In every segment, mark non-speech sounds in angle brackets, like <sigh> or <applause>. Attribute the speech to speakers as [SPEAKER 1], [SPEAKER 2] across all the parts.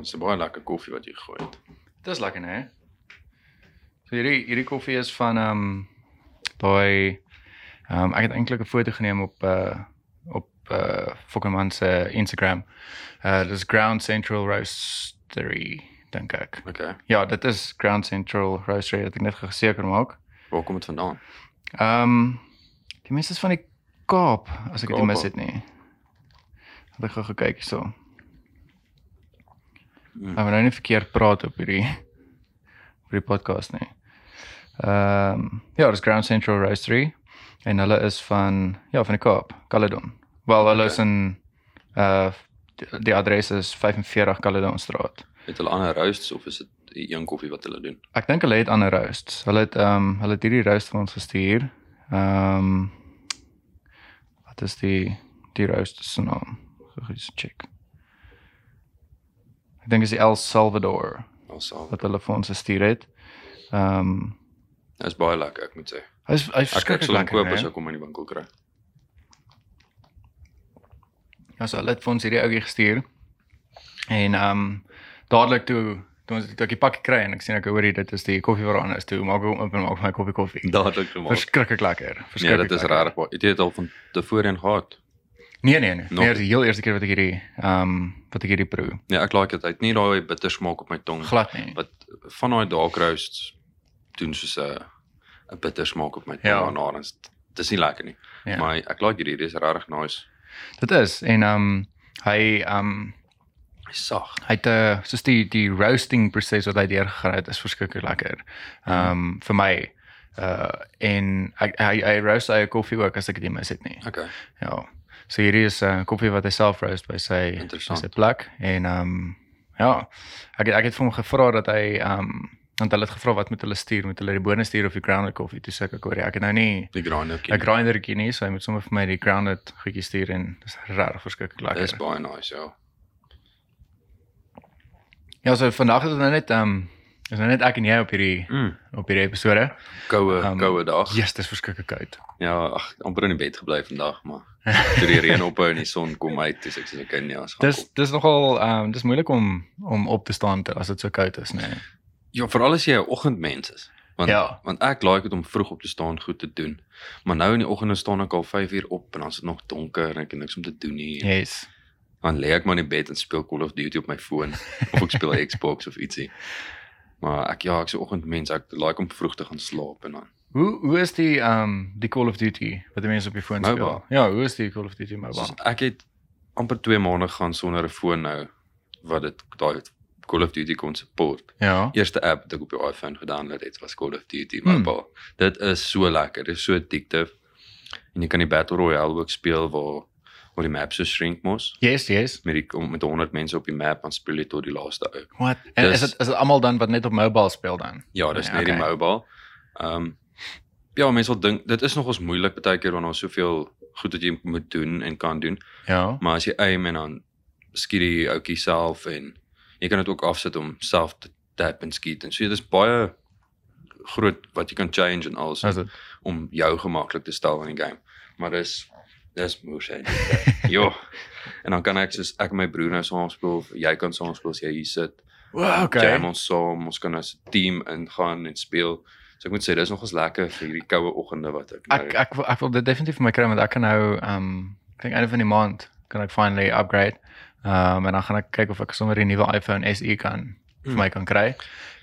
[SPEAKER 1] Dis 'n baie lekker koffie wat jy gegooi het.
[SPEAKER 2] Dis lekker, né? So hierdie hierdie koffie is van ehm um, daai ehm um, ek het eintlik 'n foto geneem op uh op uh Fokkerman se Instagram. Uh dis Ground Central Roastery dink ek.
[SPEAKER 1] Okay.
[SPEAKER 2] Ja, dit is Ground Central Roastery wat ek net geseker maak.
[SPEAKER 1] Waar kom dit vandaan?
[SPEAKER 2] Ehm um, die mense is van die Kaap as ek dit nie mis het nie. Het ek gou gekyk hierso.
[SPEAKER 1] Mm.
[SPEAKER 2] Ek wil nou nie verkeerd praat op hierdie op hierdie podcast nie. Ehm um, ja, dis Ground Central Roastery en hulle is van ja, van die Kaap, Caledon. Wel, hulle okay. is in uh die- die adres is 45 Caledon Straat.
[SPEAKER 1] Het hulle ander roasts of is dit die een koffie wat hulle doen?
[SPEAKER 2] Ek dink hulle het ander roasts. Hulle het ehm um, hulle het hierdie roast vir ons gestuur. Ehm um, wat is die die roast se naam? Gou eens check. Ek dink is die El Salvador
[SPEAKER 1] Alsaal.
[SPEAKER 2] wat hulle vir ons gestuur het. Ehm um,
[SPEAKER 1] Dit is baie lekker, ek moet sê.
[SPEAKER 2] hy's hy's
[SPEAKER 1] Ek ek
[SPEAKER 2] verskriklik
[SPEAKER 1] sal hom koop
[SPEAKER 2] lekker.
[SPEAKER 1] as
[SPEAKER 2] né?
[SPEAKER 1] ek hom in die winkel kry.
[SPEAKER 2] Ja, so hulle het vir ons hierdie ouetjie gestuur. En ehm um, dadelik toe toe ons toe ek die pakkie kry en ek sien ek hoor hier dit is die koffie waaraan is toe maak ek hom oop en maak my koffie koffie.
[SPEAKER 1] Dadelik toe maar.
[SPEAKER 2] Verskriklik lekker.
[SPEAKER 1] Nee,
[SPEAKER 2] Verskriklik.
[SPEAKER 1] dit is
[SPEAKER 2] lekker.
[SPEAKER 1] regtig baie. Het jy dit al van tevore gehad?
[SPEAKER 2] Nee nee nee.
[SPEAKER 1] Nog
[SPEAKER 2] Nee,
[SPEAKER 1] nie.
[SPEAKER 2] dit is die heel eerste keer wat ek hierdie ehm um, wat ek hierdie proe.
[SPEAKER 1] Nee, ek like dit. Hy het nie daai bitter smaak op my tong
[SPEAKER 2] Glad nie.
[SPEAKER 1] wat van daai dark roasts doen soos 'n 'n bitter smaak op my tong
[SPEAKER 2] Ja.
[SPEAKER 1] ja. daarna. en dit- Dit is nie lekker nie.
[SPEAKER 2] Ja.
[SPEAKER 1] Maar ek like hierdie, dit is regtig nice.
[SPEAKER 2] Dit is en ehm um, hy ehm um,
[SPEAKER 1] Hy's sag.
[SPEAKER 2] hy het uh, soos die die roasting proses wat hy deurgegaan het is verskriklik lekker. Ehm um, vir my uh en hy hy, hy roast hy koffie ook as ek dit nie mis het nie.
[SPEAKER 1] Okay.
[SPEAKER 2] Ja. So hierdie is 'n uh, koffie wat hy self roast by sy by
[SPEAKER 1] Interessant.
[SPEAKER 2] sy plek en ehm um, ja, ek het, ek het vir hom gevra dat hy ehm um, want hulle het gevra wat moet hulle stuur, moet hulle die bone stuur of die grounded koffie? Toe sê ek ek hoor, ja, ek het nou nie
[SPEAKER 1] Die grinderkie.
[SPEAKER 2] 'n grindertjie nie, so hy moet sommer vir my die grounded goedjies stuur en dis regtig verskriklik lekker.
[SPEAKER 1] Dis baie nice, ja.
[SPEAKER 2] Ja, so vandag is dit nou net ehm um, is nou net ek en jy op hierdie
[SPEAKER 1] Mm.
[SPEAKER 2] op hierdie episode.
[SPEAKER 1] Koue,
[SPEAKER 2] Um,
[SPEAKER 1] um, koue dag.
[SPEAKER 2] Jesus, dis verskriklik koud.
[SPEAKER 1] Ja, ag, amper in die bed gebly vandag,
[SPEAKER 2] <laughs>
[SPEAKER 1] maar toe die reën ophou en die son kom uit, dis ek sê ek kan ja, as gaan.
[SPEAKER 2] Dis dis nogal ehm um, dis moeilik om om op te staan ter- as dit so koud is, nee.
[SPEAKER 1] Ja, veral as jy 'n oggendmens is. Want
[SPEAKER 2] Ja.
[SPEAKER 1] ja. want ek like dit om vroeg op te staan, goed te doen. Maar nou in die oggende staan ek al 5 uur op en dan is dit nog donker en ek het niks om te doen nie. Ja.
[SPEAKER 2] Yes.
[SPEAKER 1] Dan lê ek maar in die bed en speel Call of Duty op my foon of ek
[SPEAKER 2] <laughs>
[SPEAKER 1] speel Xbox of ietsie. Maar ek ja, ek's 'n oggendmens. Ek like om vroeg te gaan slaap en dan
[SPEAKER 2] Hoe hoe is die ehm um, die Call of Duty wat die mense op die foon speel?
[SPEAKER 1] Mobile.
[SPEAKER 2] Ja, hoe is die Call of Duty mobile?
[SPEAKER 1] soos, ek het amper 2 maande gaan sonder 'n foon nou wat dit daai Call of Duty kon support.
[SPEAKER 2] ja.
[SPEAKER 1] eerste app wat ek op die iPhone gedownload het was Call of Duty
[SPEAKER 2] Hmm.
[SPEAKER 1] Mobile. Mm. Dit is so lekker, dit is so addictive. En jy kan die Battle Royale ook speel waar waar die map so shrink mos
[SPEAKER 2] Yes, yes.
[SPEAKER 1] met die om- met 100 mense op die map dan speel jy tot die laaste ou.
[SPEAKER 2] Wat? En
[SPEAKER 1] Dis-
[SPEAKER 2] is dit is dit almal dan wat net op mobile speel dan?
[SPEAKER 1] Ja, dis
[SPEAKER 2] Ja,
[SPEAKER 1] ja, net okay. die
[SPEAKER 2] okay.
[SPEAKER 1] mobile. Ehm um, ja, mense sal dink dit is nogals moeilik baie keer want daar's soveel goed wat jy moet doen en kan doen,
[SPEAKER 2] Ja.
[SPEAKER 1] maar as jy aim en dan skiet die ouetjie self en jy kan dit ook afsit om self te tap en skiet en so dit is baie groot wat jy kan change en alles.
[SPEAKER 2] Is dit?
[SPEAKER 1] om jou gemaklik te stel in die game. Maar dis dis moeilik. Jo. En dan kan ek soos ek en my broer nou saam speel, of jy kan saam speel as jy hier sit.
[SPEAKER 2] Wow,
[SPEAKER 1] Jam ons saam, ons kan as 'n team ingaan en speel. So ek moet sê dis nogals lekker vir hierdie koue oggende wat ek nou
[SPEAKER 2] Ek ek wil, ek wil dit definitief vir my kry want ek kan nou ehm um, ek dink einde van die maand kan ek finally upgrade. Ehm um, en dan gaan ek kyk of ek sommer die nuwe iPhone SE kan
[SPEAKER 1] Hmm.
[SPEAKER 2] vir my kan kry.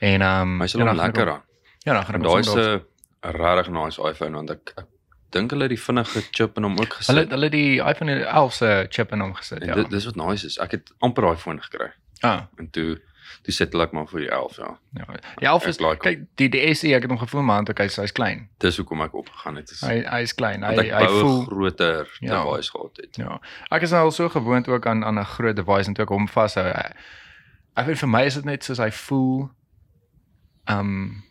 [SPEAKER 2] En ehm um,
[SPEAKER 1] my sal
[SPEAKER 2] en
[SPEAKER 1] hom
[SPEAKER 2] dan gaan ek
[SPEAKER 1] lekker
[SPEAKER 2] hom-
[SPEAKER 1] aan.
[SPEAKER 2] Ja, dan gaan
[SPEAKER 1] En
[SPEAKER 2] ek
[SPEAKER 1] daai
[SPEAKER 2] hom
[SPEAKER 1] is eh,
[SPEAKER 2] sommer op-
[SPEAKER 1] 'n 'n regtig nice iPhone want ek, ek dink hulle het die vinnige chip in hom ook
[SPEAKER 2] Hulle
[SPEAKER 1] gesit.
[SPEAKER 2] hulle het die iPhone 11 se chip in hom gesit,
[SPEAKER 1] En
[SPEAKER 2] ja.
[SPEAKER 1] dit dis wat nice is. Ek het amper daai foon gekry
[SPEAKER 2] Ah.
[SPEAKER 1] en toe toe settle ek maar vir die 11 ja.
[SPEAKER 2] Ja. Die elf is
[SPEAKER 1] Ek like hom.
[SPEAKER 2] kyk die die SE ek het hom gevoel man, ek hy's hy's klein.
[SPEAKER 1] Dis hoekom ek opgegaan het. Dis
[SPEAKER 2] Hy hy's klein. Hy
[SPEAKER 1] want ek
[SPEAKER 2] hy
[SPEAKER 1] wou 'n
[SPEAKER 2] voel
[SPEAKER 1] groter
[SPEAKER 2] Ja.
[SPEAKER 1] device gehad het.
[SPEAKER 2] ja. Ek is nou al so gewoond ook aan aan 'n groot device en toe ek hom vashou. hy- Ek weet vir my is dit net soos hy voel um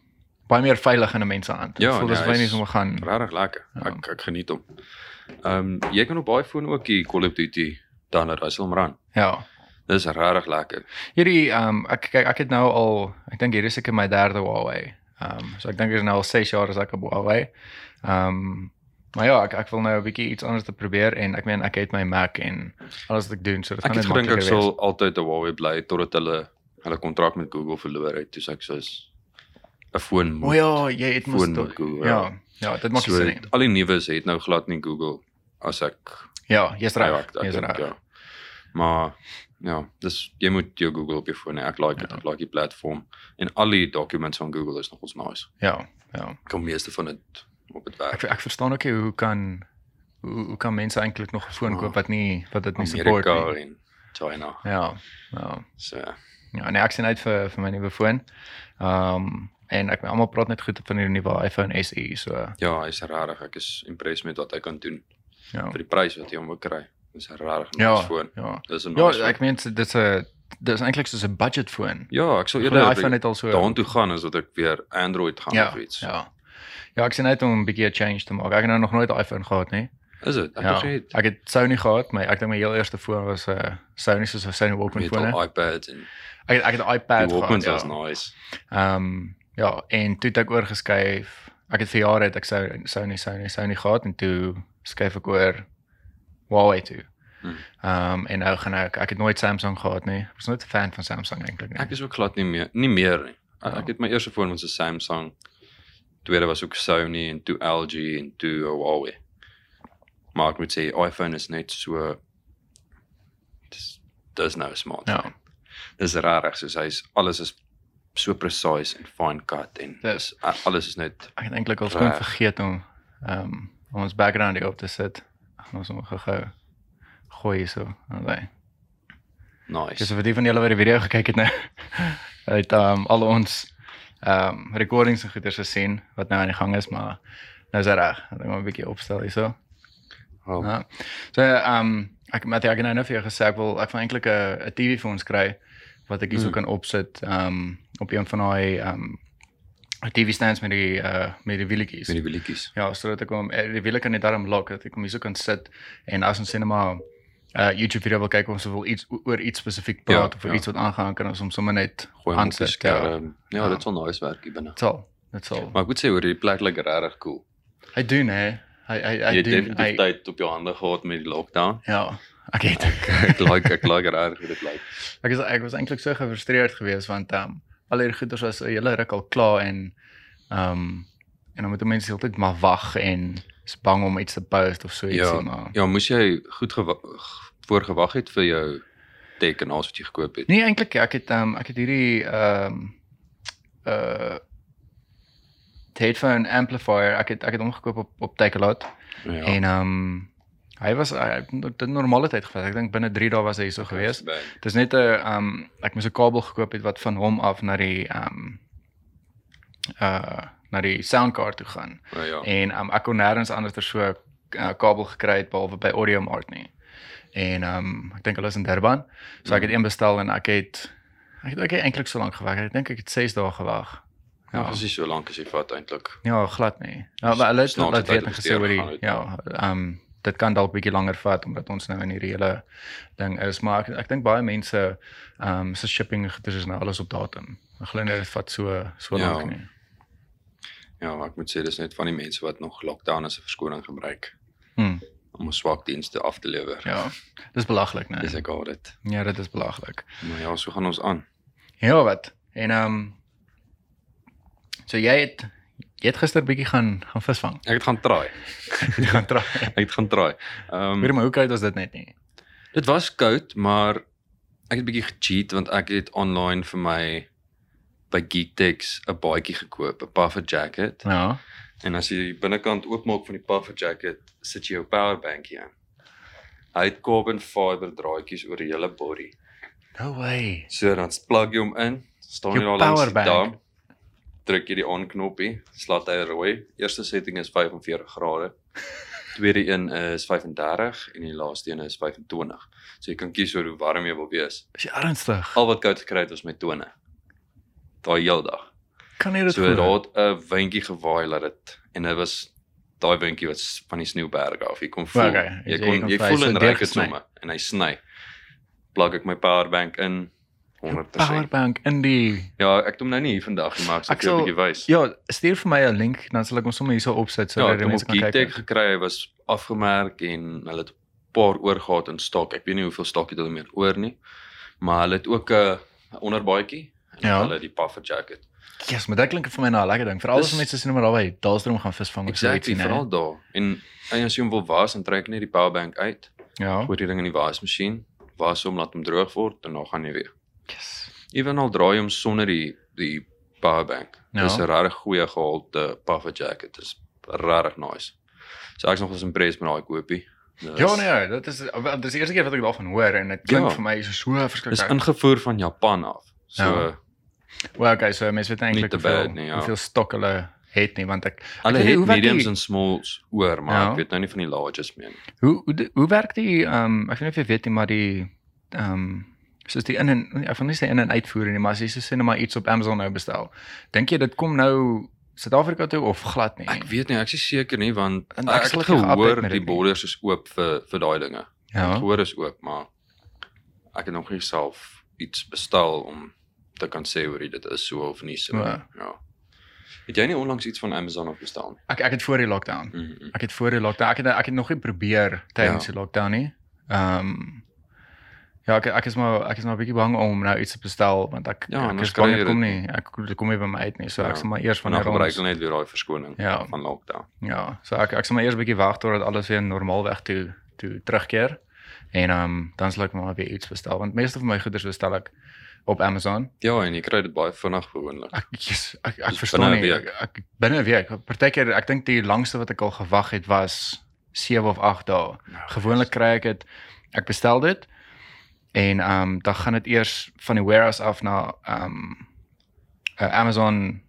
[SPEAKER 2] baie meer veilig in 'n mens se hand.
[SPEAKER 1] Ja,
[SPEAKER 2] Ek voel
[SPEAKER 1] nee,
[SPEAKER 2] dis
[SPEAKER 1] hy
[SPEAKER 2] baie
[SPEAKER 1] is-
[SPEAKER 2] nie sommer gaan.
[SPEAKER 1] Regtig lekker.
[SPEAKER 2] Ja.
[SPEAKER 1] Ek ek geniet hom. Ehm jy kan op daai foon ook die Call of Duty dan Russell Run.
[SPEAKER 2] Ja.
[SPEAKER 1] Dis regtig lekker.
[SPEAKER 2] Hierdie um ek kyk ek het nou al ek dink hier is ek in my derde Huawei. Um so ek dink dit is nou al 6 jaar as ek op Huawei. Um maar ja, ek ek wil nou 'n bietjie iets anders te probeer en ek meen ek het my Mac en alles wat ek doen so dit
[SPEAKER 1] Ek
[SPEAKER 2] gaan
[SPEAKER 1] het
[SPEAKER 2] net
[SPEAKER 1] gedink
[SPEAKER 2] makliker
[SPEAKER 1] ek
[SPEAKER 2] wees.
[SPEAKER 1] sal altyd 'n Huawei bly totdat hulle hulle kontrak met Google verloor het, toe sê ek soos 'n foon
[SPEAKER 2] O
[SPEAKER 1] moet.
[SPEAKER 2] ja, jy het mos
[SPEAKER 1] Foon met
[SPEAKER 2] tot-
[SPEAKER 1] Google,
[SPEAKER 2] Ja, ja, dit maak
[SPEAKER 1] so,
[SPEAKER 2] sin. nie.
[SPEAKER 1] Al die nuus het nou glad nie Google as ek
[SPEAKER 2] Ja, jy's
[SPEAKER 1] Ja,
[SPEAKER 2] reg.
[SPEAKER 1] ek, ek
[SPEAKER 2] Jy's
[SPEAKER 1] dink,
[SPEAKER 2] reg.
[SPEAKER 1] ja. Maar ja, dis jy moet jou Google op jou foon hê. Ek like dit, ja. ek like die platform en al die documents van Google is nogals nice.
[SPEAKER 2] Ja, ja.
[SPEAKER 1] Ek kom meeste van dit op dit werk.
[SPEAKER 2] Ek ek verstaan ook nie hoe kan hoe, hoe kan mense eintlik nog 'n foon
[SPEAKER 1] Ja.
[SPEAKER 2] koop wat nie wat dit nie support
[SPEAKER 1] Amerika
[SPEAKER 2] nie.
[SPEAKER 1] en China.
[SPEAKER 2] Ja. Ja.
[SPEAKER 1] So
[SPEAKER 2] Ja, en ek sien uit vir vir my nuwe foon. Ehm um, en ek almal praat net goed van hierdie nuwe iPhone SE, so
[SPEAKER 1] ja, hy's regtig, ek is impressed met wat hy kan doen
[SPEAKER 2] ja.
[SPEAKER 1] vir die prys wat jy hom ook kry. Dis 'n regtig nice
[SPEAKER 2] Ja.
[SPEAKER 1] foon.
[SPEAKER 2] Ja.
[SPEAKER 1] Dis 'n
[SPEAKER 2] Ja,
[SPEAKER 1] nice.
[SPEAKER 2] ek meen dit is 'n dit is eintlik soos 'n budget foon.
[SPEAKER 1] Ja, ek sou
[SPEAKER 2] Goeie
[SPEAKER 1] eerder
[SPEAKER 2] iPhone het al so
[SPEAKER 1] daartoe gaan as wat ek weer Android gaan
[SPEAKER 2] ja,
[SPEAKER 1] of iets.
[SPEAKER 2] ja. Ja, ek sien uit om 'n bietjie 'n change te maak. Ek het nou nog nooit 'n iPhone gehad nie.
[SPEAKER 1] Is dit? Ek
[SPEAKER 2] ja.
[SPEAKER 1] het net
[SPEAKER 2] Ek het Sony gehad, maar ek dink my heel eerste foon was 'n uh, Sony soos 'n Sony Walkman
[SPEAKER 1] met
[SPEAKER 2] foon. hè.
[SPEAKER 1] al iPads en
[SPEAKER 2] Ek Ja, het, ek het 'n iPad
[SPEAKER 1] die
[SPEAKER 2] gehad.
[SPEAKER 1] Walkmans
[SPEAKER 2] Ja.
[SPEAKER 1] was nice.
[SPEAKER 2] Ehm ja, en toe het ek oorgeskuif. Ek het vir jare het ek sou sou nie sou nie sou nie gehad en toe skuif ek oor Huawei toe. Ehm
[SPEAKER 1] Hmm.
[SPEAKER 2] um, en nou gaan ek ek het nooit Samsung gehad nie. Ek was nooit 'n fan van Samsung eintlik nie.
[SPEAKER 1] Ek is ook glad nie meer nie meer nie. Ek,
[SPEAKER 2] Ja.
[SPEAKER 1] ek het my eerste foon was 'n Samsung. Tweede was ook Sony en toe LG en toe Huawei. Maar ek moet sê iPhone is net so dis dis nou 'n smart.
[SPEAKER 2] Ja.
[SPEAKER 1] phone. Dis rarig soos hy's alles is so precise en fine cut en
[SPEAKER 2] Dis-
[SPEAKER 1] a- alles is net
[SPEAKER 2] Ek het eintlik al skoon
[SPEAKER 1] Reg.
[SPEAKER 2] vergeet om ehm um, om ons background hier op te sit. Ons moet gou gooi hierso. Allei. Dis
[SPEAKER 1] nice.
[SPEAKER 2] vir die van julle wat die video gekyk het nou. <laughs> Uit ehm um, al ons ehm um, recordings en goeders gesien wat nou aan die gang is, maar nou is dit reg. Ek moet 'n bietjie opstel hierso.
[SPEAKER 1] Oh,
[SPEAKER 2] Ja. So ehm um, ek met ek het nou net vir jou gesê ek wil ek wil eintlik 'n 'n TV vir ons kry wat ek hierso
[SPEAKER 1] Mm.
[SPEAKER 2] kan opsit ehm um, op een van daai ehm um, TV stands met die uh met die wielietjies.
[SPEAKER 1] met die wielietjies.
[SPEAKER 2] Ja, sodat ek hom eh, die wiele kan net daarom lock dat ek hom hierso kan sit en as ons sê net maar uh YouTube video wil kyk of ons wil iets o- oor iets spesifiek praat ja, of
[SPEAKER 1] ja.
[SPEAKER 2] oor ja. iets wat aangaan kan ons hom sommer net
[SPEAKER 1] Gooi hom op die
[SPEAKER 2] aansit. Ja.
[SPEAKER 1] skerm. Ja, ja,
[SPEAKER 2] Ja.
[SPEAKER 1] dit sal nice werk hier binne.
[SPEAKER 2] Dit sal. Dit sal.
[SPEAKER 1] Maar ek moet sê hoor, hierdie plek lyk regtig cool.
[SPEAKER 2] Hy doen hè. Hy hy
[SPEAKER 1] Jy
[SPEAKER 2] hy
[SPEAKER 1] het
[SPEAKER 2] doen
[SPEAKER 1] definitief
[SPEAKER 2] hy
[SPEAKER 1] tyd op jou hande gehad met die
[SPEAKER 2] <laughs>
[SPEAKER 1] lockdown.
[SPEAKER 2] Ja. Ek het
[SPEAKER 1] ek like ek like regtig hoe dit lyk.
[SPEAKER 2] Ek is ek was eintlik so gefrustreerd geweest want ehm um, al hierdie goeders was 'n hele ruk al klaar en ehm um, en dan moet mense heeltyd maar wag en is bang om iets te post of so ietsie
[SPEAKER 1] Ja.
[SPEAKER 2] maar.
[SPEAKER 1] Ja, moes jy goed gewa- g- voorgewag het vir jou tekenaars wat jy gekoop het.
[SPEAKER 2] Nee eintlik ek het ehm um, ek het hierdie ehm um, uh headphone amplifier ek het ek het hom gekoop op op Takealot ja.
[SPEAKER 1] Ja.
[SPEAKER 2] en ehm um, hy was hy het dit normale tyd gevat. Ek dink binne 3 dae was hy hierso gewees.
[SPEAKER 1] Bang.
[SPEAKER 2] Dis net 'n um ek moes 'n kabel gekoop het wat van hom af na die um uh na die soundkaart toe gaan.
[SPEAKER 1] Maar ja.
[SPEAKER 2] En um ek kon nêrens anders so 'n uh, kabel gekry het behalwe by Audio Mart nie. En um ek dink hulle is in Durban. So ek het een bestel en ek het ek het ook nie eintlik so lank gewag. Ek dink ek het 6 dae gewag.
[SPEAKER 1] Ja, presies so lank as jy vat eintlik.
[SPEAKER 2] Ja, glad nie. Ja, maar hulle het
[SPEAKER 1] Snaaks
[SPEAKER 2] laat
[SPEAKER 1] dat hy
[SPEAKER 2] weet en
[SPEAKER 1] dit
[SPEAKER 2] gesê oor
[SPEAKER 1] gegaan
[SPEAKER 2] die
[SPEAKER 1] het.
[SPEAKER 2] ja, ehm um, dit kan dalk bietjie langer vat omdat ons nou in hierdie hele ding is, maar ek, ek dink baie mense ehm um, se shipping en goeders is nou alles op datum. Ek glo nie dit vat so so
[SPEAKER 1] Ja.
[SPEAKER 2] lank ja. nie.
[SPEAKER 1] Ja, maar ek moet sê dis net van die mense wat nog lockdown as 'n verskoning gebruik
[SPEAKER 2] Hm,
[SPEAKER 1] om 'n swak dienste af te lewer.
[SPEAKER 2] ja. Dis belaglik, né?
[SPEAKER 1] Dis ek al dit.
[SPEAKER 2] Ja, dit is belaglik.
[SPEAKER 1] Maar ja, so gaan ons aan.
[SPEAKER 2] Ja, wat? En ehm um, so jy het jy het gister bietjie gaan gaan visvang.
[SPEAKER 1] Ek het gaan try.
[SPEAKER 2] Jy gaan terug.
[SPEAKER 1] Ek het <laughs> gaan try. Ehm
[SPEAKER 2] Weet
[SPEAKER 1] um,
[SPEAKER 2] maar hoe koud was dit net nie?
[SPEAKER 1] dit was koud, maar ek het bietjie gecheat want ek het online vir my by Geektex 'n baadjie gekoop, 'n puffer jacket.
[SPEAKER 2] Ja.
[SPEAKER 1] En as jy die binnekant oopmaak van die puffer jacket, sit jy jou powerbankie in. Hy het carbon fiber draadjies oor die hele body.
[SPEAKER 2] No way.
[SPEAKER 1] So dan plug jy hom in, staan jy
[SPEAKER 2] Jou
[SPEAKER 1] daar langs die
[SPEAKER 2] powerbank.
[SPEAKER 1] dam, druk jy die on knoppie, slaat hy rooi. Eerste setting is 45 grade. Tweede een is 35 en die laaste een is 25. So jy kan kies oor hoe warm jy wil wees.
[SPEAKER 2] Is jy ernstig?
[SPEAKER 1] Al wat koud gekry het was my tone. Daai heeldag.
[SPEAKER 2] Kan jy dit
[SPEAKER 1] So
[SPEAKER 2] glo?
[SPEAKER 1] daar het 'n windjie gewaai laat dit en dit was daai windjie wat s- van die sneeuberge af. Jy kon voel.
[SPEAKER 2] Okay,
[SPEAKER 1] Okay,
[SPEAKER 2] jy
[SPEAKER 1] jy kon
[SPEAKER 2] kon
[SPEAKER 1] jy
[SPEAKER 2] vry,
[SPEAKER 1] voel
[SPEAKER 2] so
[SPEAKER 1] en ryk dit
[SPEAKER 2] deurgesny.
[SPEAKER 1] sommer en hy sny. Plug ek my powerbank in 100%.
[SPEAKER 2] Powerbank in die
[SPEAKER 1] Ja, ek het hom nou nie hier vandag gemaak so
[SPEAKER 2] Ek
[SPEAKER 1] ek sal
[SPEAKER 2] sal-
[SPEAKER 1] jou 'n bietjie wys.
[SPEAKER 2] Ja, stuur vir my 'n link dan sal ek hom sommer hierso opsit
[SPEAKER 1] Ja,
[SPEAKER 2] sodat
[SPEAKER 1] ek
[SPEAKER 2] die
[SPEAKER 1] het hom
[SPEAKER 2] mense
[SPEAKER 1] op
[SPEAKER 2] kan
[SPEAKER 1] Geetek
[SPEAKER 2] kyk.
[SPEAKER 1] gekry, hy was afgemerk en hulle het 'n paar oor gehad in stok. Ek weet nie hoeveel stok het hulle meer oor nie. Maar hulle het ook 'n 'n onderbaadjie en
[SPEAKER 2] Ja.
[SPEAKER 1] ja. hulle die puffer jacket.
[SPEAKER 2] Yes, maar dit klink vir my na 'n lekker ding. Veral as
[SPEAKER 1] Dis-
[SPEAKER 2] mense sien maar albei daalstroom gaan visvang of so
[SPEAKER 1] Exactly,
[SPEAKER 2] ietsie, né?
[SPEAKER 1] veral daar. En en as jy hom wil was, dan trek net die powerbank uit,
[SPEAKER 2] Ja.
[SPEAKER 1] gooi die ding in die wasmasjien, was hom laat hom droog word en dan gaan jy weer.
[SPEAKER 2] Yes.
[SPEAKER 1] Ewen al draai jy hom sonder die die powerbank.
[SPEAKER 2] Ja.
[SPEAKER 1] Dis 'n regtig goeie gehalte puffer jacket. Dis regtig nice. So ek's nog eens impressed met daai koopie. Dis-
[SPEAKER 2] Ja nee, dit is wel, dis die eerste keer wat ek daarvan hoor en dit
[SPEAKER 1] Ja.
[SPEAKER 2] klink vir my so so
[SPEAKER 1] Dis
[SPEAKER 2] verskriklik.
[SPEAKER 1] ingevoer van Japan af. So
[SPEAKER 2] Ja.
[SPEAKER 1] ja.
[SPEAKER 2] Wel, okay, so mense weet eintlik
[SPEAKER 1] te
[SPEAKER 2] hoeveel,
[SPEAKER 1] bad nie, ja.
[SPEAKER 2] hoeveel stok hulle het nie want ek
[SPEAKER 1] Hulle
[SPEAKER 2] weet nie,
[SPEAKER 1] het
[SPEAKER 2] hoe werk die-
[SPEAKER 1] mediums en smalls oor, maar
[SPEAKER 2] Ja.
[SPEAKER 1] ja. ek weet nou nie van die larges meer nie.
[SPEAKER 2] Hoe hoe de- hoe werk die ehm um, ek weet nie of jy weet nie maar die ehm um, soos die in en ek wil nie sê in en uitvoer nie maar as jy so sê net maar iets op Amazon nou bestel dink jy dit kom nou Suid-Afrika toe of glad nie
[SPEAKER 1] Ek weet nie, ek is nie seker nie want
[SPEAKER 2] Nee. En
[SPEAKER 1] ek,
[SPEAKER 2] ek
[SPEAKER 1] ek
[SPEAKER 2] sal
[SPEAKER 1] het
[SPEAKER 2] nie geupdate
[SPEAKER 1] gehoor
[SPEAKER 2] met dit
[SPEAKER 1] die
[SPEAKER 2] nie.
[SPEAKER 1] borders is oop vir vir daai dinge.
[SPEAKER 2] ja
[SPEAKER 1] Ek hoor is oop, maar ek het nog nie self iets bestel om te kan sê oor dit is so of nie so.
[SPEAKER 2] Ja.
[SPEAKER 1] Ja. ja. Het jy nie onlangs iets van Amazon af bestel nie?
[SPEAKER 2] ek ek het voor die lockdown
[SPEAKER 1] Mm -hmm.
[SPEAKER 2] ek het voor die lockdown ek het ek het nog nie probeer tydens
[SPEAKER 1] Ja.
[SPEAKER 2] die lockdown nie ehm um, Ja, ek ek is maar ek is maar 'n bietjie bang om nou iets te bestel want ek
[SPEAKER 1] Ja,
[SPEAKER 2] ja, ek
[SPEAKER 1] anders
[SPEAKER 2] is bang
[SPEAKER 1] kry
[SPEAKER 2] dit
[SPEAKER 1] jy
[SPEAKER 2] kom
[SPEAKER 1] dit
[SPEAKER 2] nie. Ek dit kom nie by my uit nie. So ja.
[SPEAKER 1] Ja.
[SPEAKER 2] ek sal maar eers
[SPEAKER 1] Want dan
[SPEAKER 2] wanneer
[SPEAKER 1] gebruik
[SPEAKER 2] ons
[SPEAKER 1] hulle net weer daai verskoning
[SPEAKER 2] Ja.
[SPEAKER 1] van lockdown.
[SPEAKER 2] Ja, so ek ek sal maar eers 'n bietjie wag totdat alles weer normaalweg toe toe terugkeer en ehm um, dan sal ek maar weer iets bestel want meeste van my goeder bestel ek op Amazon.
[SPEAKER 1] Ja, en jy kry dit baie vinnig gewoonlik.
[SPEAKER 2] Ek yes, ek, ek
[SPEAKER 1] Dis
[SPEAKER 2] verstaan
[SPEAKER 1] binne 'n
[SPEAKER 2] nie. Ek, ek binne 'n week. Partykeer ek dink die langste wat ek al gewag het was 7 of 8 dae. Ja, Gewoonlik kry ek dit ek bestel dit en ehm um, dan gaan dit eers van die warehouse af na ehm um, uh, Amazon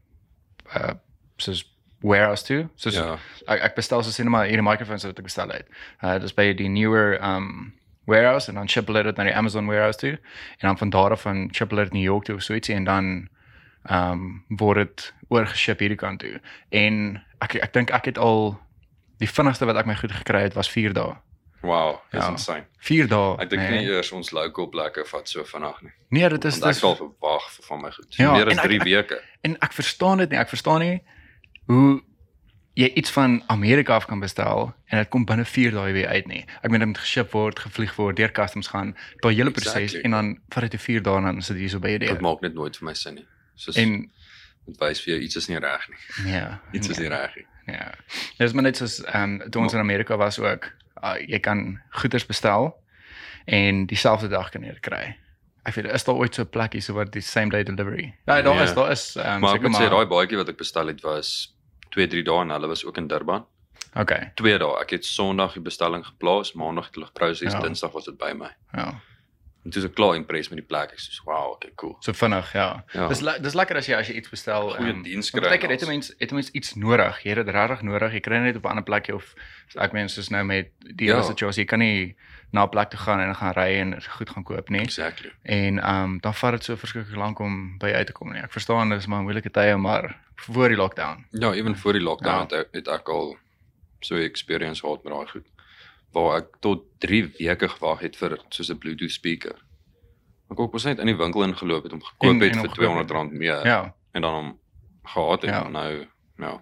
[SPEAKER 2] uh soos warehouse toe. Soos ja.
[SPEAKER 1] Ja.
[SPEAKER 2] ek ek bestel so sien maar hierdie microphones wat ek bestel het. Uh dis by die newer um warehouse en dan ship hulle dit na die Amazon warehouse toe en dan van daar af van ship hulle dit New York toe of so ietsie en dan um word dit oorgeship hierdie kant toe. En ek ek dink ek het al die vinnigste wat ek my goed gekry het was 4 dae.
[SPEAKER 1] Wow, dis
[SPEAKER 2] Ja.
[SPEAKER 1] ja. insane.
[SPEAKER 2] 4 dae.
[SPEAKER 1] Ek dink nee. nie
[SPEAKER 2] nee.
[SPEAKER 1] eers ons local plekke vat so vinnig nie.
[SPEAKER 2] Nee, dit is
[SPEAKER 1] Dis dis
[SPEAKER 2] dis
[SPEAKER 1] al verwag van my goed.
[SPEAKER 2] Ja,
[SPEAKER 1] Ja, meer
[SPEAKER 2] en
[SPEAKER 1] as
[SPEAKER 2] ek-
[SPEAKER 1] 3
[SPEAKER 2] ek-
[SPEAKER 1] weke.
[SPEAKER 2] en ek verstaan dit nie. Ek verstaan nie hoe jy iets van Amerika af kan bestel en dit kom binne 4 dae weer uit nie. Ek meen dit moet geship word, gevlieg word, deur customs gaan, daai hele proses
[SPEAKER 1] Exactly.
[SPEAKER 2] exactly. en dan vat dit 4 dae en dan sit jy so by jou
[SPEAKER 1] Dit
[SPEAKER 2] deur.
[SPEAKER 1] maak net nooit vir my sin nie. Soos
[SPEAKER 2] Ja. En
[SPEAKER 1] en, dit wys vir jou iets is nie reg nie.
[SPEAKER 2] ja,
[SPEAKER 1] Iets is
[SPEAKER 2] ja,
[SPEAKER 1] nie reg nie.
[SPEAKER 2] ja. Dis maar net soos ehm um, toe ons in Amerika was ook, uh, jy kan goederes bestel en dieselfde dag kan jy dit kry. Ek weet is daar ooit so 'n plek hier so wat die same day delivery. Ja, daar
[SPEAKER 1] Nee.
[SPEAKER 2] is daar is ehm um,
[SPEAKER 1] Maar ek
[SPEAKER 2] seker
[SPEAKER 1] moet sê
[SPEAKER 2] maar.
[SPEAKER 1] daai baadjie wat ek bestel het was 2-3 dae en hulle was ook in Durban.
[SPEAKER 2] Okay.
[SPEAKER 1] 2 dae. Ek het Sondag die bestelling geplaas, Maandag het hulle geproses,
[SPEAKER 2] Ja.
[SPEAKER 1] ja. Dinsdag was dit by my.
[SPEAKER 2] Ja.
[SPEAKER 1] En toe is ek klaar impressed met die plek. Ek sê, "Wow, okay, cool."
[SPEAKER 2] So vinnig, ja.
[SPEAKER 1] Ja.
[SPEAKER 2] Dis le dis lekker as jy as jy iets bestel.
[SPEAKER 1] Goeie
[SPEAKER 2] ehm,
[SPEAKER 1] diens
[SPEAKER 2] want
[SPEAKER 1] kry
[SPEAKER 2] Partykeer
[SPEAKER 1] en
[SPEAKER 2] het 'n
[SPEAKER 1] alles.
[SPEAKER 2] mens het 'n mens iets nodig. Jy het dit regtig nodig. Jy kry dit net op 'n ander plekjie of so ek meen soos nou met die hele
[SPEAKER 1] Ja.
[SPEAKER 2] situasie, jy kan nie na 'n plek toe gaan en gaan ry en goed gaan koop nie.
[SPEAKER 1] Exactly.
[SPEAKER 2] En ehm um, dan vat dit so verskriklik lank om by uit te kom nie. Ek verstaan dis maar moeilike tye, maar voor die lockdown.
[SPEAKER 1] Ja, ewen voor die
[SPEAKER 2] Ja.
[SPEAKER 1] lockdown ja. het, ek- het ek al so 'n experience gehad met daai goed. Waar ek tot 3 weke gewag het vir soos 'n Bluetooth speaker. Ek ook was net in die winkel ingeloop het om gekoop en,
[SPEAKER 2] En-
[SPEAKER 1] het
[SPEAKER 2] en
[SPEAKER 1] en
[SPEAKER 2] hom
[SPEAKER 1] vir
[SPEAKER 2] gekoop het.
[SPEAKER 1] R200 meer ja.
[SPEAKER 2] Ja.
[SPEAKER 1] en dan hom gehad het
[SPEAKER 2] Ja.
[SPEAKER 1] ja. nou nou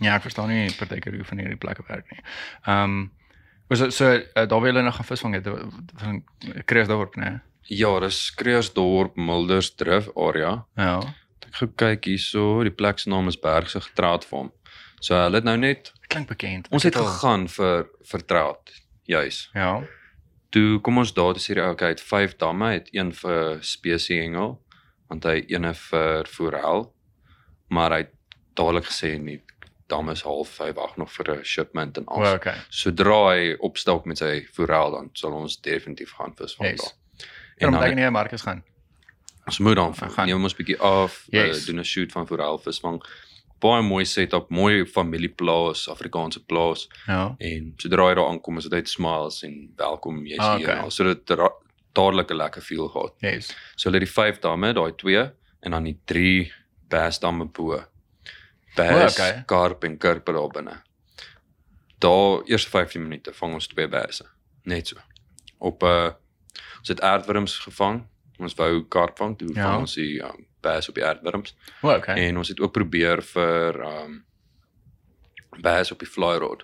[SPEAKER 2] Ja, ek verstaan nie partykeer hoe van hierdie plekke werk nie. Ehm um, was dit so uh, daar wil hulle nog gaan visvang het eh, van Kreeusdorp, né?
[SPEAKER 1] Ja, dis Kreeusdorp, Mildersdrif area.
[SPEAKER 2] Ja.
[SPEAKER 1] Ek gaan kyk hierso, die plek se naam is Bergse Getraatfarm. So hulle het nou net
[SPEAKER 2] Klink bekend.
[SPEAKER 1] ons
[SPEAKER 2] Ek
[SPEAKER 1] het
[SPEAKER 2] al-
[SPEAKER 1] gegaan vir vir traat. Juis.
[SPEAKER 2] Ja.
[SPEAKER 1] Toe kom ons daar te sê die ou okay, het vyf damme, hy het een vir spesie hengel, want hy het eene vir forel, maar hy het dadelik gesê nie dam is half vyf wag nog vir 'n shipment en
[SPEAKER 2] O,
[SPEAKER 1] al.
[SPEAKER 2] okay.
[SPEAKER 1] Sodra hy opstel met sy forel dan sal ons definitief gaan visvang yes.
[SPEAKER 2] Yes.
[SPEAKER 1] daar.
[SPEAKER 2] En
[SPEAKER 1] En
[SPEAKER 2] dan
[SPEAKER 1] dan
[SPEAKER 2] kan jy Marcus gaan.
[SPEAKER 1] Ons moet dan
[SPEAKER 2] gaan.
[SPEAKER 1] gaan. Neem ons bietjie af, yes.
[SPEAKER 2] Yes.
[SPEAKER 1] uh, doen 'n shoot van forelvisvang. Baie mooi setup, mooi familieplaas, Afrikaanse plaas
[SPEAKER 2] Ja.
[SPEAKER 1] en sodra jy daar aankom is dit net smiles en welkom jy's
[SPEAKER 2] Ah,
[SPEAKER 1] ah, hier.
[SPEAKER 2] okay.
[SPEAKER 1] Okay. So dit ra- dadelik 'n lekker feel gehad.
[SPEAKER 2] Yes.
[SPEAKER 1] So hulle het die 5 damme, daai 2 en dan die 3 bass damme bo.
[SPEAKER 2] O,
[SPEAKER 1] Bass,
[SPEAKER 2] okay.
[SPEAKER 1] okay. karp en kurper daar binne. Daar eers 15 minute vang ons twee basse. Net so. Op 'n uh, ons het aardwurms gevang. Ons wou karp vang, toe
[SPEAKER 2] Ja.
[SPEAKER 1] ja. vang ons die um, bass op die aardwurms
[SPEAKER 2] O, okay.
[SPEAKER 1] en ons het ook probeer vir um bass op die fly rod